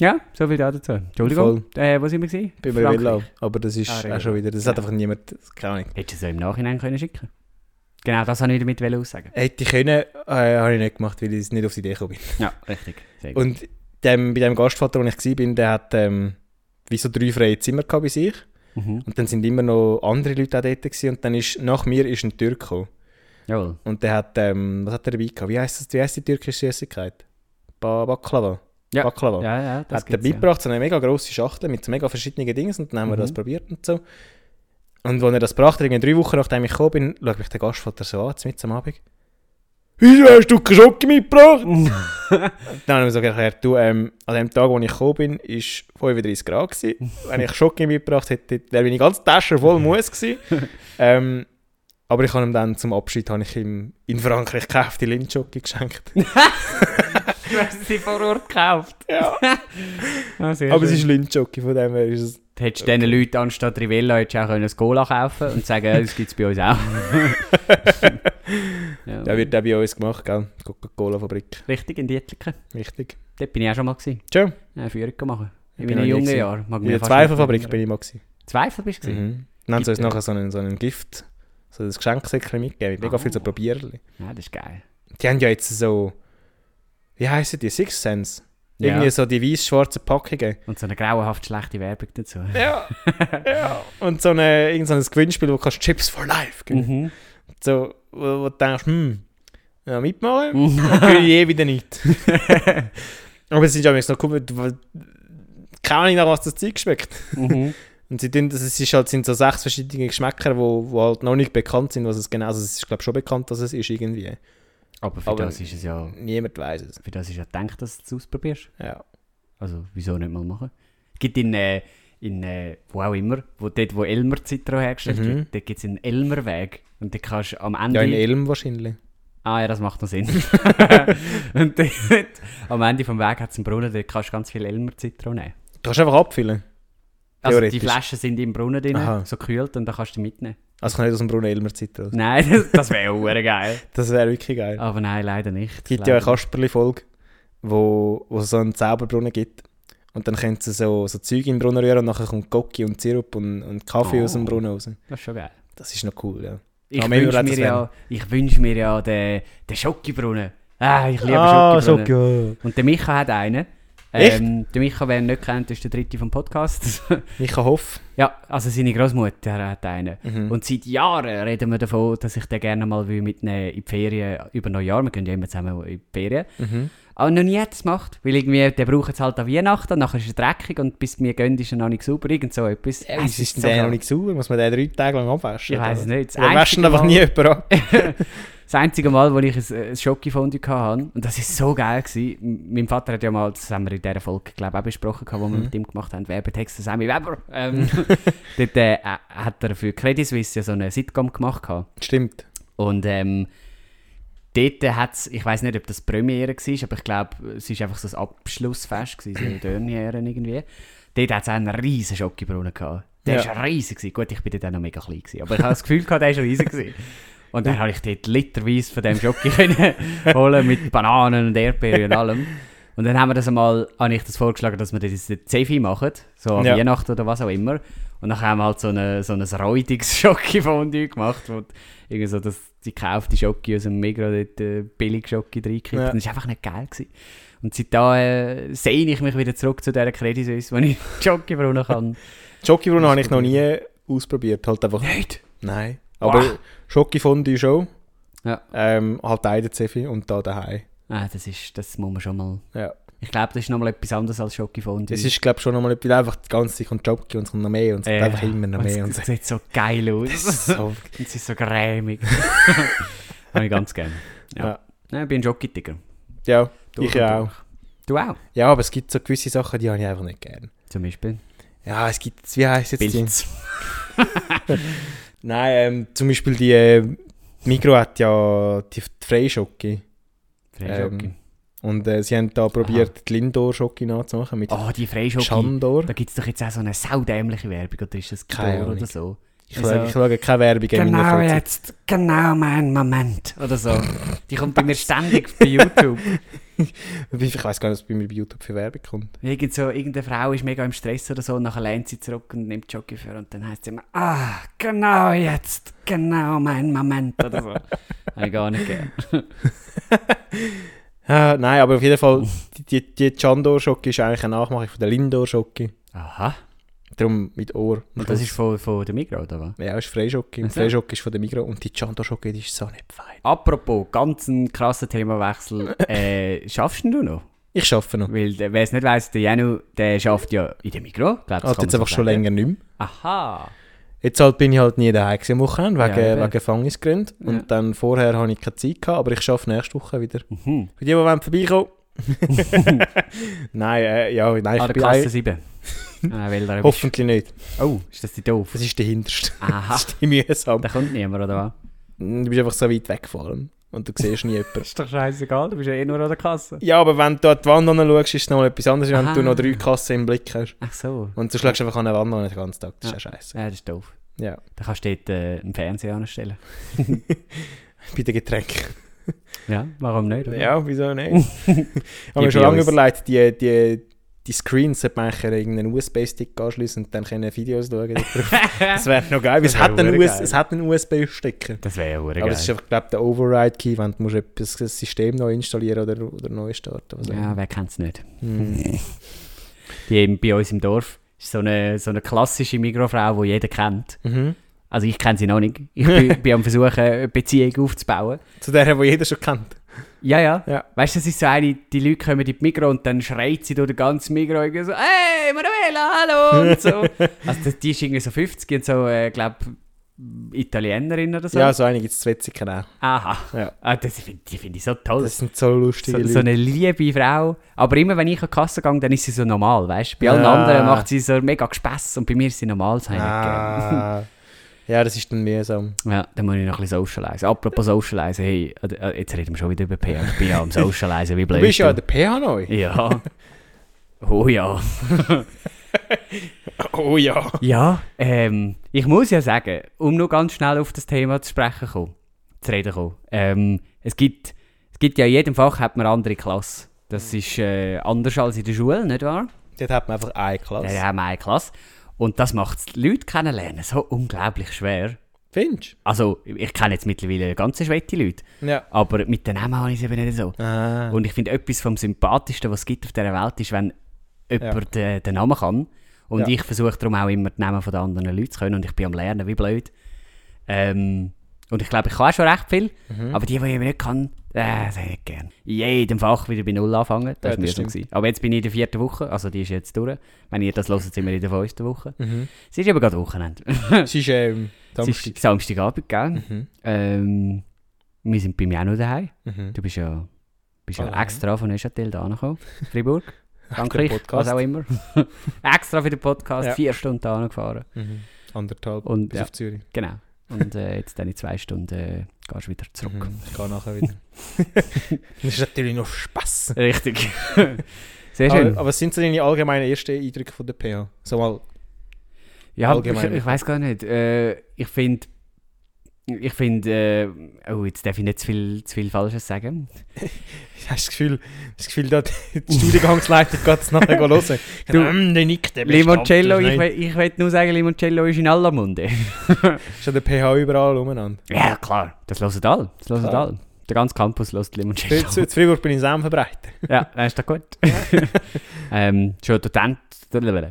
Speaker 1: Ja, so viel dazu. Entschuldigung. Äh, wo sind wir? gewesen?
Speaker 2: Bei
Speaker 1: Frankreich.
Speaker 2: Rivella. Aber das ist
Speaker 1: Ah, Rivella.
Speaker 2: auch schon wieder, das hat
Speaker 1: Ja.
Speaker 2: einfach niemand, keine Ahnung.
Speaker 1: Hättest du es auch im Nachhinein können schicken Genau, das wollte ich damit aussagen.
Speaker 2: Hätte ich können, äh, habe ich nicht gemacht, weil ich nicht auf die Idee gekommen bin.
Speaker 1: Ja, richtig. Sehr gut.
Speaker 2: Und dem, bei dem Gastvater, wo ich war, der hat ähm, wie so drei freie Zimmer gehabt bei sich.
Speaker 1: Mhm.
Speaker 2: Und dann sind immer noch andere Leute auch dort gewesen. Und dann ist, nach mir ist ein Türk gekommen.
Speaker 1: Jawohl.
Speaker 2: Und der hat, ähm, was hat er dabei gehabt? Wie heisst das, wie heisst die türkische Süßigkeit? Ba Baklava.
Speaker 1: Ja.
Speaker 2: Baklava.
Speaker 1: Ja, ja, das
Speaker 2: hat er
Speaker 1: gibt's, ja.
Speaker 2: beigebracht, so eine mega grosse Schachtel mit so mega verschiedenen Dingen. Und dann haben wir
Speaker 1: Mhm.
Speaker 2: das probiert und so. Und als er das brachte, irgendwie drei Wochen nachdem ich gekommen bin, schaut mich der Gastvater so an, mit am Abend. Wieso hast du keine Schocke mitgebracht? Dann haben wir so erklärt, du, ähm, an dem Tag, wo ich gekommen bin, ist 35 Grad. Gewesen. Wenn ich Schocke mitgebracht hätte, wäre meine ganze Tasche voll Muss gewesen. ähm, aber ich habe ihm dann zum Abschied habe ich ihm in Frankreich gekauft, die Lindschocke geschenkt.
Speaker 1: Du hast sie vor Ort gekauft.
Speaker 2: ja,
Speaker 1: Ah, sehr
Speaker 2: aber es
Speaker 1: schön.
Speaker 2: ist Lindschocke, von dem her ist es...
Speaker 1: Du hättest diesen Leuten anstatt Rivella hättest du auch können ein Cola kaufen und sagen, ja, das gibt es bei uns auch. ja.
Speaker 2: Der wird auch bei uns gemacht, gell? Coca-Cola-Fabrik.
Speaker 1: Richtig, in Dietliken.
Speaker 2: Wichtig.
Speaker 1: Dort bin ich auch schon mal. Gewesen.
Speaker 2: Schön.
Speaker 1: Eine Führung machen. In meinen
Speaker 2: bin noch nie
Speaker 1: jungen
Speaker 2: gewesen.
Speaker 1: Jahren. Mag
Speaker 2: In der
Speaker 1: fast nicht
Speaker 2: Zweifelfabrik
Speaker 1: erinnern.
Speaker 2: bin ich mal. Gewesen.
Speaker 1: Zweifel bist du? gewesen?
Speaker 2: Mhm. Dann haben sie uns
Speaker 1: Gibt-
Speaker 2: nachher so einen, so einen Gift, so ein Geschenksäckchen mitgegeben, mit mega
Speaker 1: Ah.
Speaker 2: viel so Probierli.
Speaker 1: Ja, das ist geil.
Speaker 2: Die haben ja jetzt so... Wie heissen die? Six Sense? Irgendwie
Speaker 1: Ja.
Speaker 2: so die weiß-schwarzen Packungen.
Speaker 1: Und so eine grauenhaft schlechte Werbung dazu.
Speaker 2: Ja, ja. Und so, eine, irgend so ein Gewinnspiel, wo du kannst Chips for Life gewinnen
Speaker 1: Mhm.
Speaker 2: so, wo, wo du denkst, hm, ja, mitmachen,
Speaker 1: Mhm.
Speaker 2: will ich eh wieder nicht. Aber es sind ja jetzt noch cool, weil- keine Ahnung, nach was das Zeug schmeckt.
Speaker 1: mhm.
Speaker 2: Und sie tun, das- es ist halt, sind so sechs verschiedene Geschmäcker, die wo, wo halt noch nicht bekannt sind, was es genau Also es ist, glaube ich, schon bekannt, dass es ist irgendwie.
Speaker 1: Aber für
Speaker 2: Aber-
Speaker 1: das ist es ja.
Speaker 2: Niemand weiß es.
Speaker 1: Für das ist ja gedacht, dass du es ausprobierst.
Speaker 2: Ja.
Speaker 1: Also, wieso nicht mal machen? Es gibt in, äh, in äh, wo auch immer, wo, dort, wo Elmer Zitro hergestellt
Speaker 2: Mhm.
Speaker 1: wird, dort gibt es einen Elmerweg. Und da kannst du am Ende.
Speaker 2: Ja, in E- Elm wahrscheinlich.
Speaker 1: ah, ja, das macht noch Sinn. und dort, am Ende vom Weg hat es einen Brunnen, dort kannst du ganz viel Elmer Zitro nehmen.
Speaker 2: Du kannst einfach abfüllen.
Speaker 1: Also, die
Speaker 2: Theoretisch.
Speaker 1: Flaschen sind im Brunnen drin,
Speaker 2: Aha.
Speaker 1: so kühlt, und dann kannst du die mitnehmen.
Speaker 2: Also ich kann nicht aus dem Brunnen Elmer Zitrus.
Speaker 1: Nein, das, das wäre auch geil.
Speaker 2: Das wäre wirklich geil.
Speaker 1: Aber nein, leider nicht.
Speaker 2: Es gibt ja eine
Speaker 1: leider.
Speaker 2: Kasperli-Folge, wo, wo es so einen Zauberbrunnen gibt. Und dann können sie so, so Zeug in den Brunnen rühren und nachher kommt Gocki und Sirup und, und Kaffee
Speaker 1: Oh.
Speaker 2: aus dem Brunnen raus.
Speaker 1: Das ist schon geil.
Speaker 2: Das ist noch cool, ja.
Speaker 1: Ich
Speaker 2: Ja, Mello
Speaker 1: wünsche
Speaker 2: hat
Speaker 1: mir,
Speaker 2: das
Speaker 1: ja, ich wünsch mir ja den, den Schokibrunnen. Ah, ich liebe Schokibrunnen.
Speaker 2: Schocke.
Speaker 1: Und der Micha hat einen, Ähm, der Micha, wer ihn nicht kennt, ist der dritte vom Podcast.
Speaker 2: Micha Hoff.
Speaker 1: ja, also seine Großmutter hat einen.
Speaker 2: Mhm.
Speaker 1: Und seit Jahren reden wir davon, dass ich den gerne mal will mitnehmen in die Ferien über Neujahr. Wir gehen ja immer zusammen in die Ferien.
Speaker 2: Mhm.
Speaker 1: Aber noch nie hat es gemacht, weil irgendwie, der braucht es halt an Weihnachten, und nachher ist er dreckig und bis wir gehen, ist er noch nicht sauber, irgend so etwas.
Speaker 2: Ja,
Speaker 1: Es
Speaker 2: wieso ist denn
Speaker 1: so
Speaker 2: der noch
Speaker 1: klar.
Speaker 2: nicht sauber? Muss man den drei Tage lang abwaschen?
Speaker 1: Ich weiß es
Speaker 2: oder?
Speaker 1: nicht. Das
Speaker 2: Wir
Speaker 1: einzige
Speaker 2: waschen einfach
Speaker 1: Mal-
Speaker 2: nie jemanden ab.
Speaker 1: Das einzige Mal, wo ich ein, ein Schokofondue hatte, und das war so geil, gewesen. M- mein Vater hat ja mal, das haben wir in dieser Folge glaube ich, auch besprochen, gehabt, wo wir
Speaker 2: Mhm.
Speaker 1: mit ihm gemacht haben, Werbetext, Sammy Weber. Ähm, dort äh, äh, hat er für Credit Suisse ja so eine Sitcom gemacht. Gehabt.
Speaker 2: Stimmt.
Speaker 1: Und ähm, dort hat es, ich weiß nicht, ob das Premiere war, aber ich glaube, es war einfach so ein Abschlussfest, gewesen, so eine Derniere irgendwie. Dort hat es einen riesen Schokobrunnen gehabt. Der
Speaker 2: Ja.
Speaker 1: war riesig. Gewesen. Gut, ich bin dort auch noch mega klein, gewesen, aber ich habe das Gefühl, gehabt, der war riesig. Gewesen. Und dann habe ich dort literweise von dem Schoki können holen mit Bananen und Erdbeeren und allem. Und dann haben wir das einmal, habe ich das vorgeschlagen, dass wir das jetzt in Zefi machen, so an
Speaker 2: Ja.
Speaker 1: Weihnachten oder was auch immer. Und dann haben wir halt so, eine, so ein räudiges Schoki von gemacht, wo irgendwie so das, die gekaufte Schoki aus dem Migros dort äh, billig Schoki reingekippt.
Speaker 2: Ja.
Speaker 1: Und das war einfach nicht geil. Gewesen. Und seitdem äh, sehne ich mich wieder zurück zu dieser Credit Suisse, wenn ich Schoki brauen kann.
Speaker 2: Schokibrunnen habe ich noch nie ausprobiert. Halt einfach.
Speaker 1: Nicht?
Speaker 2: Nein.
Speaker 1: Boah.
Speaker 2: Aber Schokifondue schon.
Speaker 1: Ja.
Speaker 2: Ähm, halt einen Zeffi und da daheim.
Speaker 1: Ah, das, ist, das muss man schon mal...
Speaker 2: Ja.
Speaker 1: Ich glaube, das ist nochmal etwas anderes als Schoki von
Speaker 2: Das ist, glaube ich, schon nochmal etwas. Einfach die ganze Zeit kommt Jockey und es kommt noch mehr und es kommt einfach immer noch mehr. Und
Speaker 1: Es sieht so geil aus.
Speaker 2: so.
Speaker 1: Und es ist so grämig. Habe ich ganz gerne. Ja.
Speaker 2: Ja.
Speaker 1: Nein, ich bin ein Jockey-Tiger.
Speaker 2: Ja,
Speaker 1: Durch
Speaker 2: ich
Speaker 1: und
Speaker 2: ja auch.
Speaker 1: durch. Du auch?
Speaker 2: Ja, aber es gibt so gewisse Sachen, die habe ich einfach nicht gern.
Speaker 1: Zum Beispiel.
Speaker 2: Ja, es gibt, wie heisst jetzt die?
Speaker 1: Pilz.
Speaker 2: Nein, ähm, zum Beispiel die äh, Migro hat ja die, die Freischocke.
Speaker 1: Freischocke.
Speaker 2: Ähm, Und äh, sie haben da probiert, die Lindor-Schocke nachzumachen mit
Speaker 1: oh, die Freischocke.
Speaker 2: Chandor.
Speaker 1: Da gibt es doch jetzt auch so eine saudämliche Werbung. Oder ist das
Speaker 2: Keine
Speaker 1: Chlor oder
Speaker 2: Ahnung.
Speaker 1: so? Also,
Speaker 2: Ich, schaue, Also, ich schaue keine Werbung in meiner
Speaker 1: Genau
Speaker 2: Freizeit.
Speaker 1: jetzt, genau mein Moment. Oder so. Die kommt bei mir ständig bei YouTube.
Speaker 2: Ich weiß gar nicht, was bei mir bei YouTube für Werbung kommt.
Speaker 1: Irgend so, irgendeine Frau ist mega im Stress oder so und nachher lehnt sie zurück und nimmt Jockey für und dann heißt sie immer, ah, genau jetzt, genau mein Moment oder so. Habe ich gar nicht gern.
Speaker 2: Ah, nein, aber auf jeden Fall, die, die, die Chandor-Schocke ist eigentlich eine Nachmachung von der Lindor-Schocke.
Speaker 1: Aha.
Speaker 2: Darum mit Ohr. am
Speaker 1: Und das
Speaker 2: Schluss.
Speaker 1: ist von, von der Migros, oder was?
Speaker 2: Ja, ist Freischocke. Und
Speaker 1: Also.
Speaker 2: Freischocke ist von der Migro und die Chandor-Schocke die ist so nicht fein.
Speaker 1: Apropos, ganz ein krasser Themawechsel. Äh, schaffst denn du noch?
Speaker 2: Ich schaffe noch.
Speaker 1: Weil, äh, wer es nicht weiss, der Janu, der schafft ja in der Migros. Glaub, das kann
Speaker 2: Also
Speaker 1: man
Speaker 2: jetzt
Speaker 1: so
Speaker 2: einfach schon
Speaker 1: sagen.
Speaker 2: länger nicht mehr.
Speaker 1: Aha.
Speaker 2: Jetzt halt bin ich halt nie daheim gewesen am Wochenende, wegen,
Speaker 1: Ja, eben.
Speaker 2: wegen Gefängnisgründen.
Speaker 1: Ja.
Speaker 2: Und dann vorher habe ich keine Zeit gehabt, aber ich schaffe nächste Woche wieder. Für
Speaker 1: Mhm.
Speaker 2: die, die wollen vorbeikommen. nein, äh, ja, nein,
Speaker 1: An
Speaker 2: ich
Speaker 1: Ah, der
Speaker 2: bin
Speaker 1: Klasse
Speaker 2: ein,
Speaker 1: 7. ah, weil da
Speaker 2: hoffentlich nicht.
Speaker 1: Oh, ist das die doof?
Speaker 2: Das ist die hinterste.
Speaker 1: Aha.
Speaker 2: Das ist die mühsam.
Speaker 1: Ah. Da kommt niemand, oder was?
Speaker 2: Du bist einfach so weit weggefahren und du siehst nie jemanden.
Speaker 1: Ist doch scheißegal, du bist ja eh nur an der Kasse.
Speaker 2: Ja, aber wenn du an die Wand anschaust, ist es noch etwas anderes, wenn
Speaker 1: Aha.
Speaker 2: du noch drei Kassen im Blick hast.
Speaker 1: Ach so.
Speaker 2: Und du schlägst einfach an der Wand an den ganzen Tag. Das ist ja scheiße.
Speaker 1: Ja, das ist doof.
Speaker 2: Ja.
Speaker 1: Da kannst du dort äh, einen Fernseher anstellen.
Speaker 2: Bei den Getränken.
Speaker 1: Ja, warum nicht? oder?
Speaker 2: Ja, wieso nicht? Genau. ich habe
Speaker 1: Die
Speaker 2: mir schon lange
Speaker 1: Bios.
Speaker 2: überlegt, die, die, die Screens sollte man eigentlich an irgendeinen USB-Stick anschließen und dann können Videos schauen. darauf. das wäre noch geil, weil es
Speaker 1: Das wär
Speaker 2: hat einen,
Speaker 1: verdammt
Speaker 2: US
Speaker 1: geil.
Speaker 2: es hat einen USB-Stick.
Speaker 1: Das wäre ja hure
Speaker 2: Aber es ist
Speaker 1: geil.
Speaker 2: einfach, glaube ich, der Override-Key, wenn du musst etwas, das System neu installieren oder, oder neu starten was auch
Speaker 1: Ja,
Speaker 2: immer.
Speaker 1: wer kennt es nicht?
Speaker 2: Hm.
Speaker 1: Die eben bei uns im Dorf ist so eine, so eine klassische Mikrofrau, die jeder kennt.
Speaker 2: Mhm.
Speaker 1: Also ich kenne sie noch nicht. Ich bin, bin am Versuchen, eine Beziehung aufzubauen.
Speaker 2: Zu der, die jeder schon kennt.
Speaker 1: Ja, ja.
Speaker 2: Ja.
Speaker 1: Weißt du, das ist so eine, die Leute kommen in die Migros und dann schreit sie durch den ganzen Migros irgendwie so, hey, Manuela, hallo und so. also das, die ist irgendwie so 50 und so, äh, glaube Italienerin oder so.
Speaker 2: Ja, so einige gibt es zu witzig auch.
Speaker 1: Aha.
Speaker 2: Ja.
Speaker 1: Ah, das find, die finde ich so toll.
Speaker 2: Das sind so lustige
Speaker 1: so,
Speaker 2: Leute.
Speaker 1: so eine liebe Frau. Aber immer wenn ich an die Kasse gehe, dann ist sie so normal, weißt du? Bei allen
Speaker 2: Ja.
Speaker 1: anderen macht sie so mega Spass und bei mir ist sie normal, das habe ich nicht gern.
Speaker 2: ah. Ja, das ist dann mühsam.
Speaker 1: Ja, dann muss ich noch ein bisschen socialisen. Apropos socialisen, hey, äh, äh, jetzt reden wir schon wieder über PR. Ich bin ja am socialisen, wie
Speaker 2: Du
Speaker 1: blöd.
Speaker 2: bist ja an der PH neu.
Speaker 1: Ja. Oh ja.
Speaker 2: Oh ja.
Speaker 1: Ja, ähm, ich muss ja sagen, um nur ganz schnell auf das Thema zu sprechen kommen, zu reden kommen. Ähm, es, gibt, es gibt ja in jedem Fach hat man andere Klasse. Das ist äh, anders als in der Schule, nicht wahr?
Speaker 2: Dort hat man einfach eine Klasse.
Speaker 1: Da haben wir eine Klasse. Und das macht es Leute kennenlernen so unglaublich schwer.
Speaker 2: Findest
Speaker 1: Also, ich kenne jetzt mittlerweile ganze schwette Leute,
Speaker 2: du? Ja.
Speaker 1: aber mit den Namen habe ich es eben nicht so.
Speaker 2: Ah.
Speaker 1: Und ich finde, etwas vom Sympathischsten, was es gibt auf dieser Welt, ist, wenn jemand den, den Namen kann. Und
Speaker 2: Ja.
Speaker 1: ich versuche darum auch immer, die Namen von den anderen Leuten zu können. Und ich bin am Lernen, wie blöd. Ähm, und ich glaube, ich kann auch schon recht viel.
Speaker 2: Mhm.
Speaker 1: Aber die, die ich eben nicht kann, äh, das hätte ich gerne. In jedem Fach wieder bei Null anfangen.
Speaker 2: Ja,
Speaker 1: Das war
Speaker 2: das
Speaker 1: mühsam.
Speaker 2: stimmt.
Speaker 1: gewesen. Aber jetzt bin ich in der vierten Woche, also die ist jetzt durch. Wenn ihr das hört, sind wir in der fünften Woche.
Speaker 2: Mhm.
Speaker 1: Es ist eben gerade Wochenende.
Speaker 2: Es ist ähm,
Speaker 1: Es
Speaker 2: Samstag.
Speaker 1: ist Samstagabend, gell?
Speaker 2: Mhm.
Speaker 1: Ähm, wir sind bei mir auch noch daheim.
Speaker 2: Mhm.
Speaker 1: Du bneuch ja, bist
Speaker 2: Allein.
Speaker 1: ja extra von Neuchâtel da angekommen, Freiburg, Frankreich,
Speaker 2: Podcast.
Speaker 1: was auch immer. extra für den Podcast,
Speaker 2: Ja.
Speaker 1: vier Stunden da angefahren.
Speaker 2: Mhm. Anderthalb
Speaker 1: Und
Speaker 2: bis
Speaker 1: ja,
Speaker 2: auf Zürich.
Speaker 1: genau. Und äh, jetzt dann in zwei Stunden äh, gehst du wieder zurück.
Speaker 2: Mhm. Ich gehe nachher wieder. das ist natürlich noch Spass.
Speaker 1: Richtig. Sehr schön.
Speaker 2: Aber, aber was sind so deine allgemeinen ersten Eindrücke von der PH? So mal,
Speaker 1: ja,
Speaker 2: allgemein.
Speaker 1: ich, ich weiß gar nicht. Äh, ich finde, ich finde, äh, oh, jetzt darf ich nicht zu viel, zu viel Falsches sagen.
Speaker 2: hast du das Gefühl, hast du das Gefühl da die die Studiengangsleitung geht es nachher hören?
Speaker 1: Du,
Speaker 2: Ähm, der Nick, der
Speaker 1: Limoncello,
Speaker 2: bestimmt,
Speaker 1: ich,
Speaker 2: das
Speaker 1: we- ich will nur sagen, Limoncello ist in aller Munde.
Speaker 2: nicht. Ist ja der PH überall umeinander.
Speaker 1: Ja, klar, das hören alle. Das hören
Speaker 2: Klar.
Speaker 1: alle. Der ganze Campus hört
Speaker 2: Zu,
Speaker 1: Limoncello.
Speaker 2: zu, zu Freiburg bin ich Sam verbreitet.
Speaker 1: ja, dann ist doch gut. ähm, schon Dozent,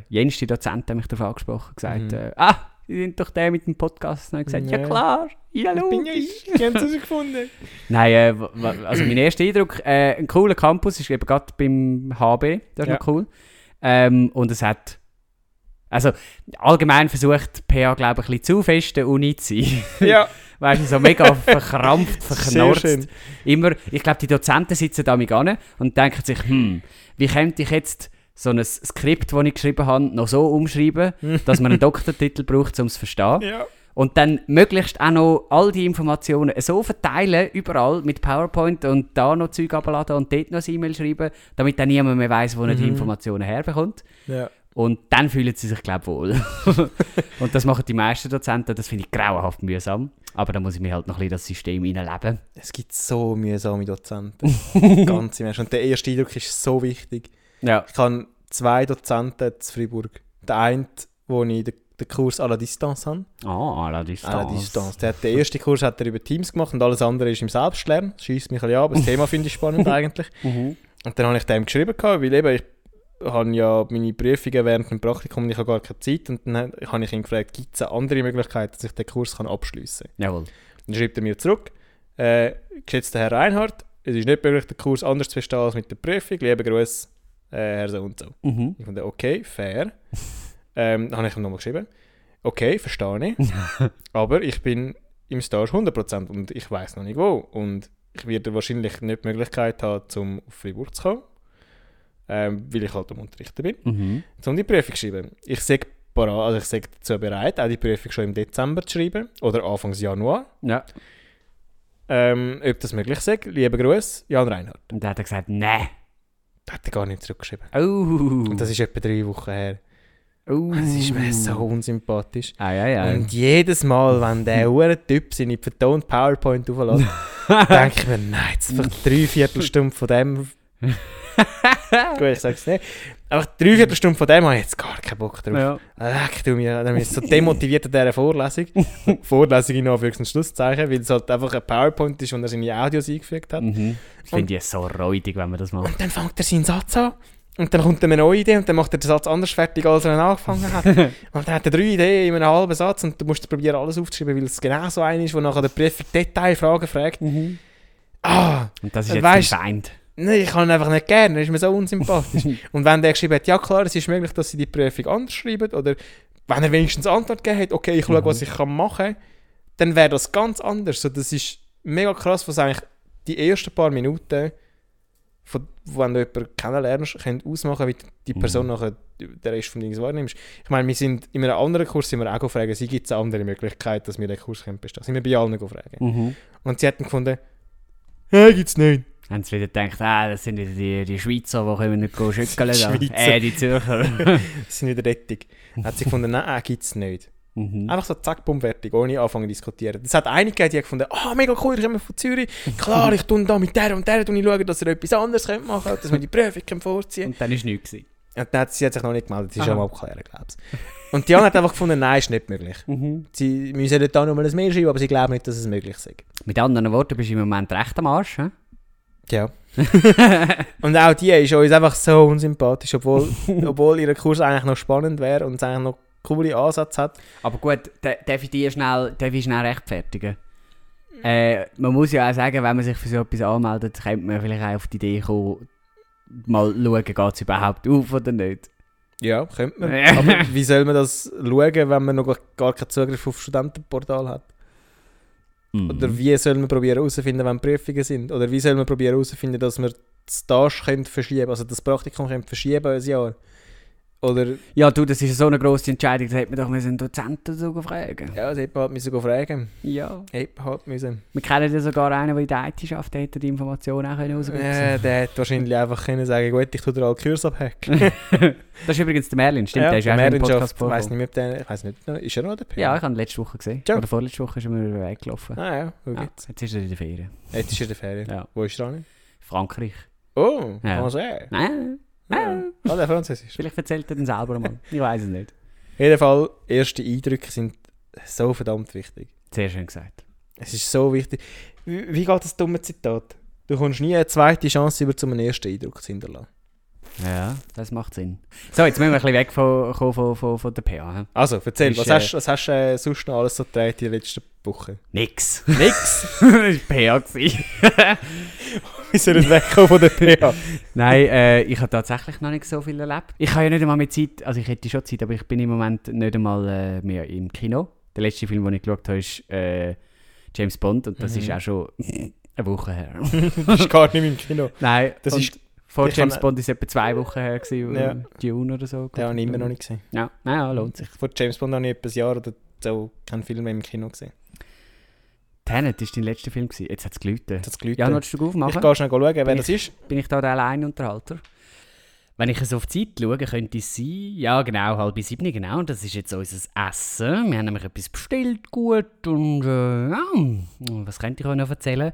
Speaker 1: jenste Dozent hat mich darauf angesprochen gesagt,
Speaker 2: Mhm.
Speaker 1: äh, ah, Sie sind doch der mit dem Podcast. Und ich gesagt, ja,
Speaker 2: Ja.
Speaker 1: klar, ja,
Speaker 2: Ich bin ja
Speaker 1: logisch.
Speaker 2: ich. Ich habe es herausgefunden.
Speaker 1: Nein, äh, wa- wa- also mein erster Eindruck, äh, ein cooler Campus, ist eben gerade beim HB, das ist
Speaker 2: Ja.
Speaker 1: noch cool. Ähm, und es hat, also allgemein versucht die PA, glaube ich, ein bisschen zu fest eine Uni zu sein.
Speaker 2: Ja,
Speaker 1: weißt du, so mega verkrampft,
Speaker 2: sehr
Speaker 1: verknorzt.
Speaker 2: schön.
Speaker 1: immer, ich glaube, die Dozenten sitzen da mit an und denken sich, hm, wie könnte ich jetzt so ein Skript, das ich geschrieben habe, noch so umschreiben, dass man einen Doktortitel braucht, um es zu verstehen.
Speaker 2: Ja.
Speaker 1: Und dann möglichst auch noch all die Informationen so verteilen, überall mit PowerPoint und da noch Zeug abladen und dort noch ein E-Mail schreiben, damit dann niemand mehr weiß, wo er die
Speaker 2: Mhm.
Speaker 1: Informationen herbekommt.
Speaker 2: ja.
Speaker 1: Und dann fühlen sie sich, glaube ich, wohl. und das machen die meisten Dozenten, das finde ich grauenhaft mühsam. Aber da muss ich mir halt noch ein bisschen das System reinleben.
Speaker 2: Es gibt so mühsame Dozenten. Ganz im Ernst. Und der erste Eindruck ist so wichtig.
Speaker 1: Ja.
Speaker 2: Ich habe zwei Dozenten zu Freiburg. Der eine, wo ich den, den Kurs à la Distance habe.
Speaker 1: Ah, à la distance.
Speaker 2: À la Distance. Der, hat, den ersten Kurs hat er über Teams gemacht und alles andere ist im Selbstlernen. Schießt mich ein bisschen an, aber das Thema finde ich spannend eigentlich.
Speaker 1: Mhm.
Speaker 2: Und dann habe ich dem geschrieben, gehabt, weil eben ich habe ja meine Prüfungen während dem Praktikum und ich habe gar keine Zeit. Und dann habe ich ihn gefragt, gibt es eine andere Möglichkeit, dass ich den Kurs kann abschliessen kann?
Speaker 1: Jawohl.
Speaker 2: Dann schreibt er mir zurück, äh, geschätzter Herr Reinhardt, es ist nicht möglich, den Kurs anders zu verstehen als mit der Prüfung. Liebe Grüße, äh, Herr so und so.
Speaker 1: Mhm.
Speaker 2: Ich fand, okay, fair. ähm, dann habe ich ihm nochmal geschrieben, okay, verstehe ich, aber ich bin im Stage 100% und ich weiß noch nicht wo. Und ich werde wahrscheinlich nicht die Möglichkeit haben, zum auf Freiburg zu kommen, ähm, weil ich halt am Unterrichten bin
Speaker 1: Mhm.
Speaker 2: um die Prüfung zu schreiben. Ich sage also ich sage dazu bereit, auch die Prüfung schon im Dezember zu schreiben oder Anfangs Januar.
Speaker 1: Ja.
Speaker 2: Ähm, ob das möglich sei, liebe Grüße, Jan Reinhardt.
Speaker 1: Und dann hat er gesagt, nein.
Speaker 2: Da hat er gar nicht zurückgeschrieben.
Speaker 1: Oh.
Speaker 2: Und das ist etwa drei Wochen her.
Speaker 1: oh.
Speaker 2: Das ist mir so unsympathisch.
Speaker 1: Ah, ja, ja.
Speaker 2: Und jedes Mal, wenn der hure Typ seine vertonte PowerPoint auflässt, denke ich mir, nein, jetzt einfach drei Viertelstunden von dem. Gut, ich sag's nicht. Aber drei Viertelstunden von dem habe ich jetzt gar keinen Bock drauf. Ah,
Speaker 1: ja.
Speaker 2: Leck du mir, dann bin ich so demotiviert an dieser Vorlesung. Vorlesung in Anführungs- und Schlusszeichen, weil es halt einfach ein PowerPoint ist, wo er seine Audios eingefügt hat.
Speaker 1: Mhm. Das finde ich so räudig, wenn man das macht.
Speaker 2: Und dann fängt er seinen Satz an. Und dann kommt ihm eine neue Idee und dann macht er den Satz anders fertig, als er ihn angefangen hat. und dann hat er drei Ideen in einem halben Satz und du musst probieren, alles aufzuschreiben, weil es genau so eine ist, wo nachher der Prüfung Detailfragen fragt. Ah,
Speaker 1: Und das ist
Speaker 2: Und
Speaker 1: jetzt
Speaker 2: weisst-
Speaker 1: dein Feind.
Speaker 2: Nein, ich kann ihn einfach nicht gerne, er ist mir so unsympathisch. und wenn der geschrieben hat, ja klar, es ist möglich, dass sie die Prüfung anders schreiben, oder wenn er wenigstens eine Antwort gegeben hat, okay, ich schaue, was
Speaker 1: Mhm.
Speaker 2: ich kann machen kann, dann wäre das ganz anders. So, das ist mega krass, was eigentlich die ersten paar Minuten, von, wenn du jemanden kennenlernst, können ausmachen, wie die Person
Speaker 1: Mhm.
Speaker 2: nachher den Rest von Dings wahrnimmst. Ich meine, wir sind in einem anderen Kurs sind wir auch gefragt, sie gibt es eine andere Möglichkeit, dass wir den Kurs können bestehen. Sind wir bei allen gefragt.
Speaker 1: Mhm.
Speaker 2: Und sie hatten gefunden, nein, gibt's nicht.
Speaker 1: Haben sie wieder gedacht, ah, das sind wieder die, die Schweizer, die können nicht gehen schütteln.
Speaker 2: Die
Speaker 1: da.
Speaker 2: Schweizer.
Speaker 1: Äh, die Zürcher.
Speaker 2: Das sind wieder rettig. Hat sie gefunden, nein, gibt es nicht.
Speaker 1: mhm.
Speaker 2: Einfach so zack, bumm, fertig, ohne anfangen zu diskutieren. Das hat einige gegeben, die haben gefunden, ah, mega cool, ich komme von Zürich. Klar, ich tue da mit der und der und ich schaue, dass ihr etwas anderes könnt machen könnt, dass wir die Prüfung können vorziehen
Speaker 1: Und dann ist nichts gewesen.
Speaker 2: Und dann hat sie, sie hat sich noch nicht gemeldet, sie ist
Speaker 1: Aha.
Speaker 2: am Abklären, glaube ich. Und Diana hat einfach gefunden, nein, ist nicht möglich.
Speaker 1: Mhm.
Speaker 2: Sie müssen nicht da nur mal ein Mail schreiben, aber sie glauben nicht, dass es möglich ist.
Speaker 1: Mit anderen Worten bist du im Moment recht am Arsch. hä?
Speaker 2: Ja. und auch die ist uns einfach so unsympathisch, obwohl, obwohl ihr Kurs eigentlich noch spannend wäre und es eigentlich noch coole Ansätze hat.
Speaker 1: Aber gut, da- darf ich die schnell, darf ich schnell rechtfertigen? Äh, man muss ja auch sagen, wenn man sich für so etwas anmeldet, könnte man vielleicht auch auf die Idee kommen, mal schauen, geht es überhaupt auf oder nicht.
Speaker 2: Ja, könnte man.
Speaker 1: Ja.
Speaker 2: Aber wie soll man das schauen, wenn man noch gar keinen Zugriff auf das Studentenportal hat?
Speaker 1: Mhm.
Speaker 2: Oder wie soll man probieren herauszufinden, wenn Prüfungen sind? Oder wie soll man probieren herauszufinden, dass man das Stage könnte verschieben also das Praktikum könnte verschieben ein Jahr? Oder,
Speaker 1: Ja, du, das ist so eine grosse Entscheidung, da hätte man doch mal einen Dozenten so fragen
Speaker 2: ja, das hätte man halt müssen gehen fragen.
Speaker 1: Ja.
Speaker 2: Hätte man halt müssen.
Speaker 1: Wir kennen ja sogar einen, der in der IT arbeitet, der hätte die Informationen auch können rausbekommen
Speaker 2: Äh, der hätte wahrscheinlich einfach können sagen gut, ich tue dir alle Kurse abhacken.
Speaker 1: Das ist übrigens der Merlin, stimmt, der ist
Speaker 2: der
Speaker 1: auch schon im
Speaker 2: Manager-
Speaker 1: Podcast
Speaker 2: Ich weiß
Speaker 1: vorgekommen.
Speaker 2: nicht, ob der, ich weiß nicht, noch- ist er noch der P?
Speaker 1: Ja, ich habe ihn letzte Woche gesehen.
Speaker 2: Ja.
Speaker 1: Oder vorletzte Woche ist er mir über den Weg gelaufen.
Speaker 2: Ah ja, schau
Speaker 1: Ja,
Speaker 2: jetzt.
Speaker 1: jetzt ist er in der Ferien.
Speaker 2: Jetzt ist er in der Ferien.
Speaker 1: Ja.
Speaker 2: Wo ist er dran?
Speaker 1: Frankreich.
Speaker 2: Oh,
Speaker 1: Ja.
Speaker 2: Français.
Speaker 1: Nein,
Speaker 2: Ja. Ah, der Französisch.
Speaker 1: vielleicht erzählt er den selber mal. Ich weiß es nicht.
Speaker 2: jeden Fall, erste Eindrücke sind so verdammt wichtig.
Speaker 1: Sehr schön gesagt.
Speaker 2: Es ist so wichtig. Wie, wie geht das dumme Zitat? Du kommst nie eine zweite Chance über zum ersten Eindruck zu hinterlassen.
Speaker 1: Ja, das macht Sinn. So, jetzt müssen wir ein bisschen weg von, von, von, von, von der PA. hä?
Speaker 2: Also, erzähl,
Speaker 1: Ist,
Speaker 2: was
Speaker 1: äh,
Speaker 2: hast du was hast, äh, sonst noch alles so gedreht in den letzten Wochen?
Speaker 1: Nix.
Speaker 2: Nix!
Speaker 1: das war PA. gewesen.
Speaker 2: Wir sind weggekommen von der PH.
Speaker 1: Nein, äh, ich habe tatsächlich noch nicht so viel erlebt. Ich habe ja nicht einmal mehr Zeit, also ich hätte schon Zeit, aber ich bin im Moment nicht einmal äh, mehr im Kino. Der letzte Film, den ich geschaut habe, ist äh, James Bond und das
Speaker 2: Mhm.
Speaker 1: ist auch schon eine Woche her.
Speaker 2: Das ist gar nicht im Kino.
Speaker 1: Nein,
Speaker 2: Das
Speaker 1: und
Speaker 2: ist-
Speaker 1: vor
Speaker 2: ich
Speaker 1: James
Speaker 2: kann-
Speaker 1: Bond ist etwa zwei Wochen her, gewesen,
Speaker 2: Ja.
Speaker 1: im June oder so.
Speaker 2: Den habe ich immer noch nicht gesehen.
Speaker 1: Ja, naja, lohnt sich.
Speaker 2: Vor James Bond habe ich etwa ein Jahr oder so keinen Film mehr im Kino gesehen.
Speaker 1: Tenet war dein letzter Film, gewesen. jetzt hat es geläutet.
Speaker 2: Das hat geläutet.
Speaker 1: Ja, willst du
Speaker 2: ich
Speaker 1: aufmachen?
Speaker 2: gehe schnell schauen, wer
Speaker 1: Bin
Speaker 2: das ist.
Speaker 1: bin ich da der alleine Unterhalter. Wenn ich es auf die Zeit schaue, könnte es sein, ja genau, halb sieben, genau, und das ist jetzt unser Essen. Wir haben nämlich etwas bestellt, gut, und äh, ja, was könnte ich euch noch erzählen?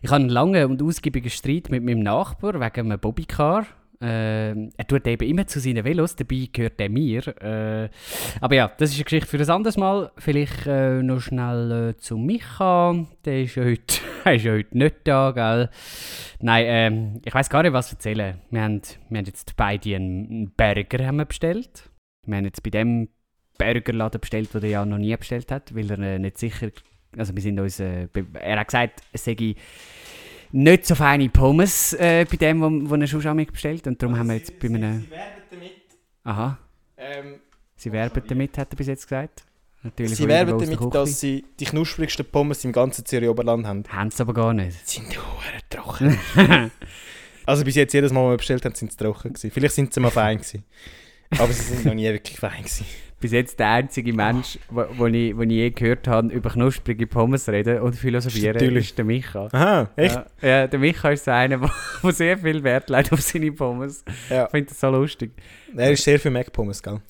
Speaker 1: Ich habe einen langen und ausgiebigen Streit mit meinem Nachbar wegen einem Bobbycar. Ähm, er tut eben immer zu seinen Velos, dabei gehört er mir. Äh, aber ja, das ist eine Geschichte für ein anderes Mal. Vielleicht äh, noch schnell äh, zu Micha. Der ist ja heute, er ist ja heute nicht da, gell? Nein, ähm, ich weiß gar nicht, was erzählen. Wir haben, wir haben jetzt beide einen Burger haben wir bestellt. Wir haben jetzt bei dem Burgerladen bestellt, den er ja noch nie bestellt hat, weil er äh, nicht sicher. Also, wir sind uns. Äh, be- er hat gesagt, es sei nicht so feine Pommes äh, bei dem, wo, wo er schon einmal bestellt. Und darum haben wir jetzt bei einem.
Speaker 2: werben damit. ähm,
Speaker 1: Aha, sie werben damit, hat er bis jetzt gesagt. Natürlich
Speaker 2: sie
Speaker 1: wieder
Speaker 2: werben
Speaker 1: aus der
Speaker 2: damit,
Speaker 1: Küche.
Speaker 2: dass sie die knusprigsten Pommes im ganzen Zürich Oberland haben.
Speaker 1: Haben sie aber gar nicht.
Speaker 2: Sind hure trocken. also bis jetzt jedes Mal, wenn wir bestellt haben, sind sie trocken gewesen. Vielleicht sind sie mal fein gewesen. Aber sie sind noch nie wirklich fein gewesen.
Speaker 1: bis jetzt der einzige Mensch, wo, wo, ich, wo ich je gehört habe, über knusprige Pommes reden und philosophieren,
Speaker 2: Ist natürlich-
Speaker 1: ist der Micha.
Speaker 2: Aha, echt?
Speaker 1: Ja, ja, der Micha ist so einer, der der sehr viel Wert legt auf seine Pommes.
Speaker 2: Ja.
Speaker 1: Ich finde das so lustig.
Speaker 2: Er ist sehr für Mac-Pommes, gell?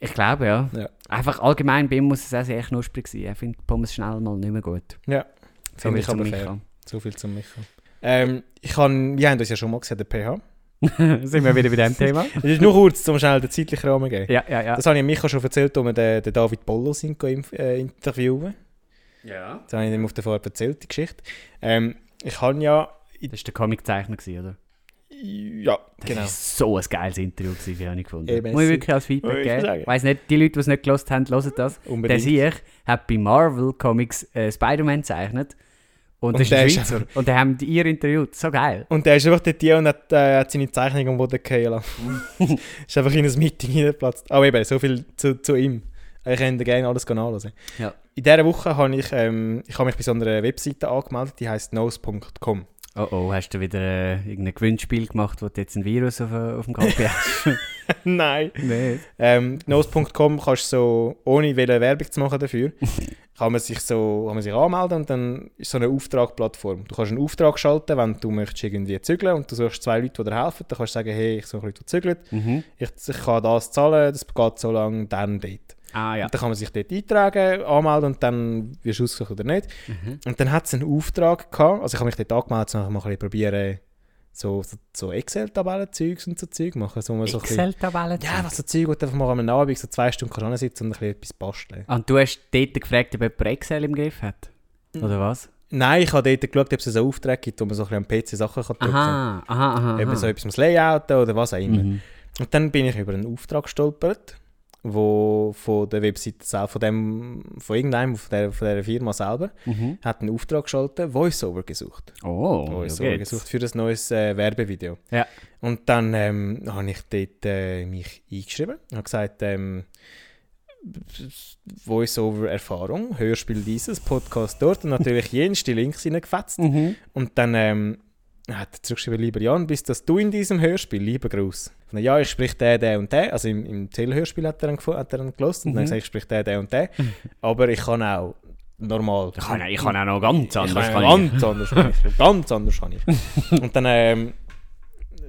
Speaker 1: Ich glaube, ja.
Speaker 2: Ja.
Speaker 1: Einfach allgemein bei ihm muss es auch sehr knusprig sein. Er findet Pommes schnell mal nicht mehr gut.
Speaker 2: Ja.
Speaker 1: So
Speaker 2: Finde
Speaker 1: wie
Speaker 2: ich
Speaker 1: zum
Speaker 2: aber
Speaker 1: Micha.
Speaker 2: So viel zum Micha. Ähm, ich kann, wir haben uns ja schon mal gesehen, der PH.
Speaker 1: Sind wir wieder bei dem Thema?
Speaker 2: Das ist nur kurz, um schnell den zeitlichen Rahmen zu geben.
Speaker 1: Ja, ja, ja.
Speaker 2: Das habe ich Micha schon erzählt, als wir den, den David Bollo sind, go inf- äh, interviewen.
Speaker 1: Ja.
Speaker 2: Das habe ich ihm auf der Fahrt erzählt, die Geschichte. Ähm, ich habe ja...
Speaker 1: Das war der Comiczeichner, gewesen, oder?
Speaker 2: Ja,
Speaker 1: Das
Speaker 2: genau.
Speaker 1: war so ein geiles Interview, gewesen, das habe ich gefunden.
Speaker 2: Eben,
Speaker 1: Muss ich
Speaker 2: es-
Speaker 1: wirklich als Feedback
Speaker 2: Muss ich
Speaker 1: geben.
Speaker 2: sagen.
Speaker 1: Ich weiss nicht, die Leute, die es nicht gelesen haben, hören das. Der
Speaker 2: Unbedingt.
Speaker 1: Sieg hat bei Marvel Comics äh, Spider-Man gezeichnet. Und,
Speaker 2: Und
Speaker 1: das ist ein
Speaker 2: der ist
Speaker 1: Schweizer. und die haben ihr interviewt. So geil.
Speaker 2: Und der ist einfach dort hier und hat, äh, hat seine Zeichnung am Boden fallen lassen. ist einfach in ein Meeting hineingeplatzt. Aber eben, so viel zu, zu ihm. Ihr könnt gerne alles nachlesen.
Speaker 1: Ja.
Speaker 2: In dieser Woche habe ich, ähm, ich habe mich bei so einer Webseite angemeldet, die heisst nose.com.
Speaker 1: Oh oh, hast du wieder äh, irgendein Gewinnspiel gemacht, wo du jetzt ein Virus auf, äh, auf dem Kaffee hast?
Speaker 2: Nein.
Speaker 1: Nein.
Speaker 2: Ähm, Nose.com kannst du so, ohne welche Werbung zu machen dafür, kann man sich so kann man sich anmelden und dann ist so eine Auftragplattform. Du kannst einen Auftrag schalten, wenn du möchtest irgendwie zügeln und du suchst zwei Leute, die dir helfen. Dann kannst du sagen, hey, ich suche Leute, die zügeln.
Speaker 1: Mhm.
Speaker 2: Ich, ich kann das zahlen, das geht so lange, dann dort.
Speaker 1: Ah ja.
Speaker 2: Und dann kann man sich dort eintragen, anmelden und dann wirst du ausgesucht oder nicht.
Speaker 1: Mhm.
Speaker 2: Und dann hat es einen Auftrag gehabt, also ich habe mich dort angemeldet, um mal ein bisschen probieren, so, so, so Excel-Tabellen-Zeugs und so Zeug machen. So, wo man so ein bisschen-
Speaker 1: Excel-Tabellen.
Speaker 2: ja, was so Zeug, wo du einfach mal am Abend so zwei Stunden kann sitzen und ein bisschen etwas basteln.
Speaker 1: Ah, Und du hast dort gefragt, ob jemand Excel im Griff hat? Oder was?
Speaker 2: Nein, ich habe dort geschaut, ob es einen Auftrag gibt, wo man so ein bisschen am PC Sachen kann drücken kann.
Speaker 1: Aha, aha, aha.
Speaker 2: Eben
Speaker 1: aha.
Speaker 2: so etwas ums Layouten oder was auch immer.
Speaker 1: Mhm.
Speaker 2: Und dann bin ich über einen Auftrag gestolpert, wo von der Webseite selber, von dem, von irgendeinem, von der, von der Firma selber,
Speaker 1: Mhm.
Speaker 2: hat einen Auftrag geschaltet, Voiceover gesucht.
Speaker 1: Oh,
Speaker 2: Voiceover
Speaker 1: okay.
Speaker 2: gesucht für ein neues äh, Werbevideo.
Speaker 1: Ja.
Speaker 2: Und dann ähm, habe ich dort äh, mich eingeschrieben und habe gesagt, ähm, Voiceover-Erfahrung, Hörspiel dieses, Podcast dort und natürlich jenste Links hineingefetzt.
Speaker 1: Mhm.
Speaker 2: Und dann ähm, hat er zurückgeschrieben, lieber Jan, bist das du in diesem Hörspiel? Lieber Gruß. Und dann, ja, ich sprich den, den und den. Also im, im Telehörspiel hat er dann, gefo- hat er dann gehört und dann
Speaker 1: Mhm.
Speaker 2: gesagt, ich sprich den, den und den. Aber ich kann auch normal.
Speaker 1: Ich kann, ich kann auch noch ganz
Speaker 2: Ich
Speaker 1: anders.
Speaker 2: kann
Speaker 1: kann ich.
Speaker 2: ganz anders kann ich. Ganz anders kann ich. Und dann, ähm,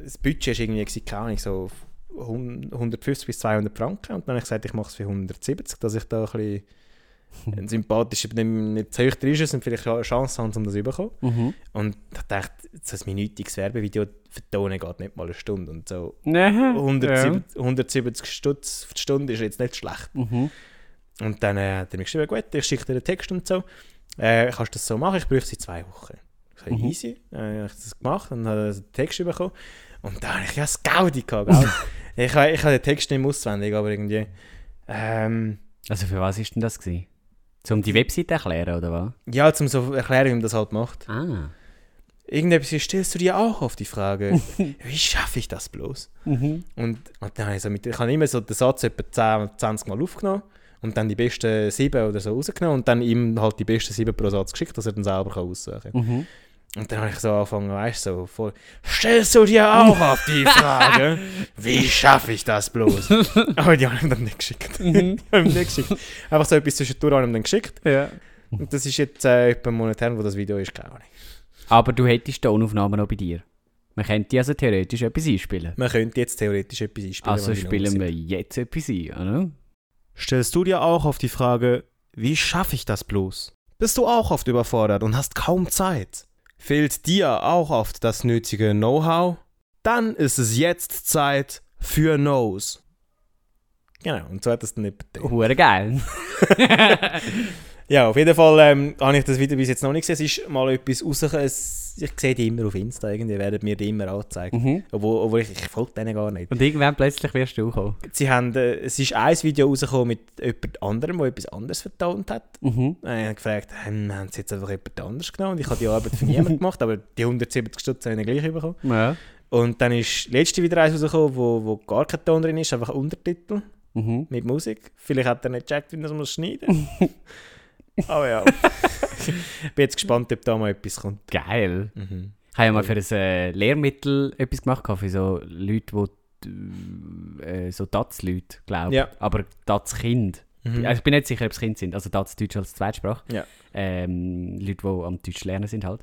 Speaker 2: das Budget war irgendwie, gewesen, keine Ahnung, so 100 150 bis 200 Franken. Und dann habe ich gesagt, ich mache es für 170, dass ich da ein bisschen ein sympathischer, nicht- nicht zu hoch ist und vielleicht eine Chance habe, um das zu bekommen.
Speaker 1: Mhm.
Speaker 2: Und ich dachte, so ein minütiges Werbevideo vertonen geht nicht mal eine Stunde. Und so
Speaker 1: Nein.
Speaker 2: 170, 170 Stutz die Stunde ist jetzt nicht schlecht.
Speaker 1: Ja. Mhm.
Speaker 2: Und dann äh, hat er mir geschrieben, gut, ich schicke dir den Text und so. Äh, kannst du das so machen? Ich brauche sie zwei Wochen. Ich so,
Speaker 1: Mhm.
Speaker 2: easy. Äh, habe ich das gemacht und habe den Text bekommen. Und dann habe ich ja das Gaudi gehabt. gell? ich, ha- ich habe den Text nicht mehr auswendig, aber irgendwie... Ähm,
Speaker 1: Also für was war denn das? Gewesen? Um die Webseite zu erklären, oder was?
Speaker 2: ja, um so erklären, wie man das halt macht.
Speaker 1: Ah.
Speaker 2: Irgendetwas stellst du dir auch auf die Frage, wie schaffe ich das bloß?
Speaker 1: Mhm.
Speaker 2: Und, und dann habe ich, so mit, ich habe immer so den Satz etwa 10, 20 Mal aufgenommen und dann die besten sieben oder so rausgenommen und dann ihm halt die besten sieben pro Satz geschickt, dass er dann selber kann aussuchen kann.
Speaker 1: Mhm.
Speaker 2: Und dann habe ich so angefangen, weißt du, so voll, stellst du dir auch auf die Frage, wie schaffe ich das bloß? Aber die haben ihm dann nicht geschickt. Die haben ihm nicht geschickt. Einfach so etwas zwischendurch haben ihm dann geschickt.
Speaker 1: Mhm. Ja.
Speaker 2: Und das ist jetzt äh, etwa einen Monat her, wo das Video ist, keine Ahnung.
Speaker 1: Aber du hättest die Tonaufnahmen noch bei dir. Man könnte also theoretisch etwas einspielen.
Speaker 2: Man könnte jetzt theoretisch etwas einspielen.
Speaker 1: also
Speaker 2: wenn die noch
Speaker 1: spielen wir jetzt etwas ein, oder?
Speaker 2: stellst du dir auch auf die Frage, wie schaffe ich das bloß? Bist du auch oft überfordert und hast kaum Zeit? Fehlt dir auch oft das nötige Know-how? Dann ist es jetzt Zeit für Knows. Genau, und so hat es dann nicht bedacht.
Speaker 1: Hure geil.
Speaker 2: Ja, auf jeden Fall ähm, habe ich das Video bis jetzt noch nicht gesehen. Es ist mal etwas rausgekommen. Es- Ich sehe die immer auf Insta, irgendwie werden mir die immer angezeigt.
Speaker 1: Mhm.
Speaker 2: Obwohl, obwohl ich, ich folge denen gar nicht.
Speaker 1: Und irgendwann plötzlich wirst du kommen.
Speaker 2: Sie haben, äh, es ist ein Video rausgekommen mit jemand anderem, der etwas anderes vertont hat.
Speaker 1: Mhm.
Speaker 2: Dann habe ich gefragt, hm, haben sie jetzt einfach jemand anders genommen? Und ich habe die Arbeit für niemanden gemacht, aber die 170 Stutz habe ich gleich bekommen.
Speaker 1: Ja.
Speaker 2: Und dann ist letzte wieder eins rausgekommen, wo, wo gar kein Ton drin ist, einfach Untertitel
Speaker 1: Mhm.
Speaker 2: mit Musik. Vielleicht hat er nicht gecheckt, wie man das muss schneiden Aber ja. ich bin jetzt gespannt, ob da mal etwas kommt. Mhm.
Speaker 1: Geil. Ich habe ja mal für ein äh, Lehrmittel etwas gemacht, gehabt, für so Leute, die äh, so Taz-Leute, glaube ich.
Speaker 2: Ja.
Speaker 1: Aber Taz-Kind.
Speaker 2: Mhm.
Speaker 1: Also ich bin nicht sicher, ob es Kinder sind, also Dats Deutsch als Zweitsprache.
Speaker 2: Ja.
Speaker 1: Ähm, Leute, die am Deutsch lernen sind halt.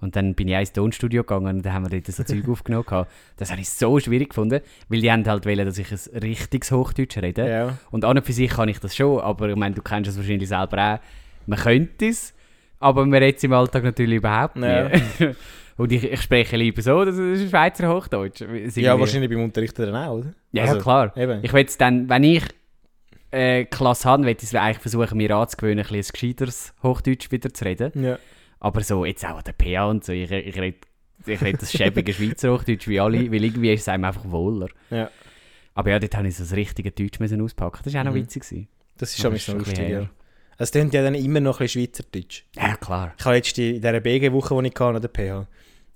Speaker 1: Und dann bin ich auch ins Tonstudio gegangen und da haben wir dort so Zeug aufgenommen. gehabt. Das habe ich so schwierig gefunden, weil die haben halt wollen, dass ich ein richtiges Hochdeutsch rede.
Speaker 2: Ja.
Speaker 1: Und an und für sich kann ich das schon, aber ich meine, du kennst das wahrscheinlich selber auch. Man könnte es, aber man redet es im Alltag natürlich überhaupt nicht.
Speaker 2: Ja.
Speaker 1: und ich, ich spreche lieber so, das ist Schweizer Hochdeutsch.
Speaker 2: ja, wahrscheinlich beim Unterrichter dann auch, oder?
Speaker 1: Ja,
Speaker 2: Also,
Speaker 1: klar.
Speaker 2: Eben.
Speaker 1: Ich will es dann, wenn ich äh, Klasse habe, will ich es eigentlich versuchen, mir anzugewöhnen, ein, bisschen ein gescheiteres Hochdeutsch wieder zu reden.
Speaker 2: ja.
Speaker 1: Aber so, jetzt auch an der PA und so, ich, ich rede ich red das schäbige Schweizer Hochdeutsch wie alle, weil irgendwie ist es einem einfach wohler.
Speaker 2: Ja.
Speaker 1: Aber ja, dort habe ich so das richtige Deutsch müssen auspacken. Das war auch noch
Speaker 2: Mhm.
Speaker 1: witzig. gewesen.
Speaker 2: Das ist
Speaker 1: Aber Oh,
Speaker 2: schon mal
Speaker 1: ist schon ein
Speaker 2: lustig,
Speaker 1: bisschen
Speaker 2: ja.
Speaker 1: her.
Speaker 2: Es tönt Also, ja dann immer noch ein bisschen Schweizerdeutsch.
Speaker 1: Ja, klar.
Speaker 2: Ich habe letzte, in dieser BG-Woche, die ich hatte, an der PH,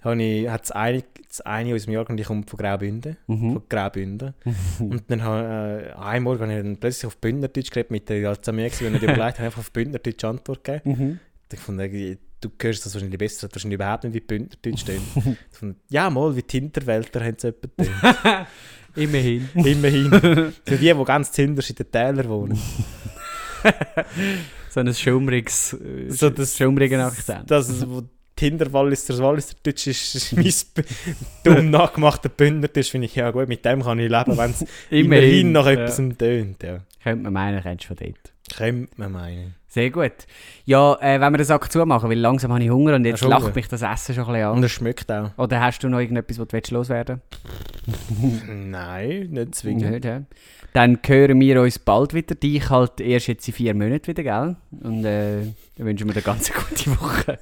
Speaker 2: habe ich, hat das eine, das eine aus dem Jahrgang, die kommt von Graubünden.
Speaker 1: Mhm.
Speaker 2: Von Graubünden.
Speaker 1: Hm.
Speaker 2: und dann habe äh, einen Morgen habe ich dann plötzlich auf Bündnerdeutsch geredet mit der, die halt zu mir war, und ich überlegt habe, einfach auf Bündnerdeutsch Antwort gegeben.
Speaker 1: Mhm.
Speaker 2: Und Ich fand, irgendwie, du hörst das wahrscheinlich besser, das hat wahrscheinlich überhaupt nicht wie Bündnerdeutsch tönt. Ich fand, ja, mal, wie die Hinterwälder haben sie jemanden.
Speaker 1: Immerhin.
Speaker 2: Immerhin. Für die, die ganz hinterst in den Tälern wohnen.
Speaker 1: So ein schummriges, äh,
Speaker 2: So das-
Speaker 1: schummrigen Akzent.
Speaker 2: Genau. Das, ist, wo Tinder Walliser Walliser Deutsch ist, ist mein b- dumm nachgemachter Bündnerdeutsch, finde ich, ja gut, mit dem kann ich leben, wenn es immerhin noch
Speaker 1: ja.
Speaker 2: etwas ja. tönt. Ja.
Speaker 1: Könnte man meinen, kennst du von dort.
Speaker 2: Könnte man meinen.
Speaker 1: Sehr gut. Ja, äh, wenn wir den Sack zumachen, weil langsam habe ich Hunger und jetzt
Speaker 2: Hast du
Speaker 1: lacht
Speaker 2: Hunger?
Speaker 1: mich das Essen schon ein bisschen
Speaker 2: Und
Speaker 1: an.
Speaker 2: es schmeckt auch.
Speaker 1: Oder hast du noch irgendetwas, was du willst loswerden
Speaker 2: Nein, nicht zwingend.
Speaker 1: willst? Ja. Dann hören wir uns bald wieder. Dich halt erst jetzt in vier Monaten wieder, gell? Und äh, dann wünschen wir dir ganz eine gute Woche.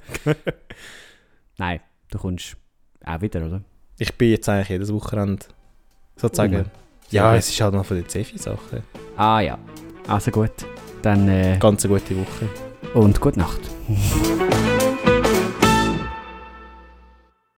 Speaker 1: Nein, du kommst auch wieder, oder?
Speaker 2: Ich bin jetzt eigentlich jedes Wochenende sozusagen.
Speaker 1: Rum.
Speaker 2: Ja,
Speaker 1: Sorry.
Speaker 2: es ist halt noch von der Zefi-Sache.
Speaker 1: Ah ja. Also gut. Dann äh,
Speaker 2: Ganz eine gute Woche.
Speaker 1: und gute Nacht.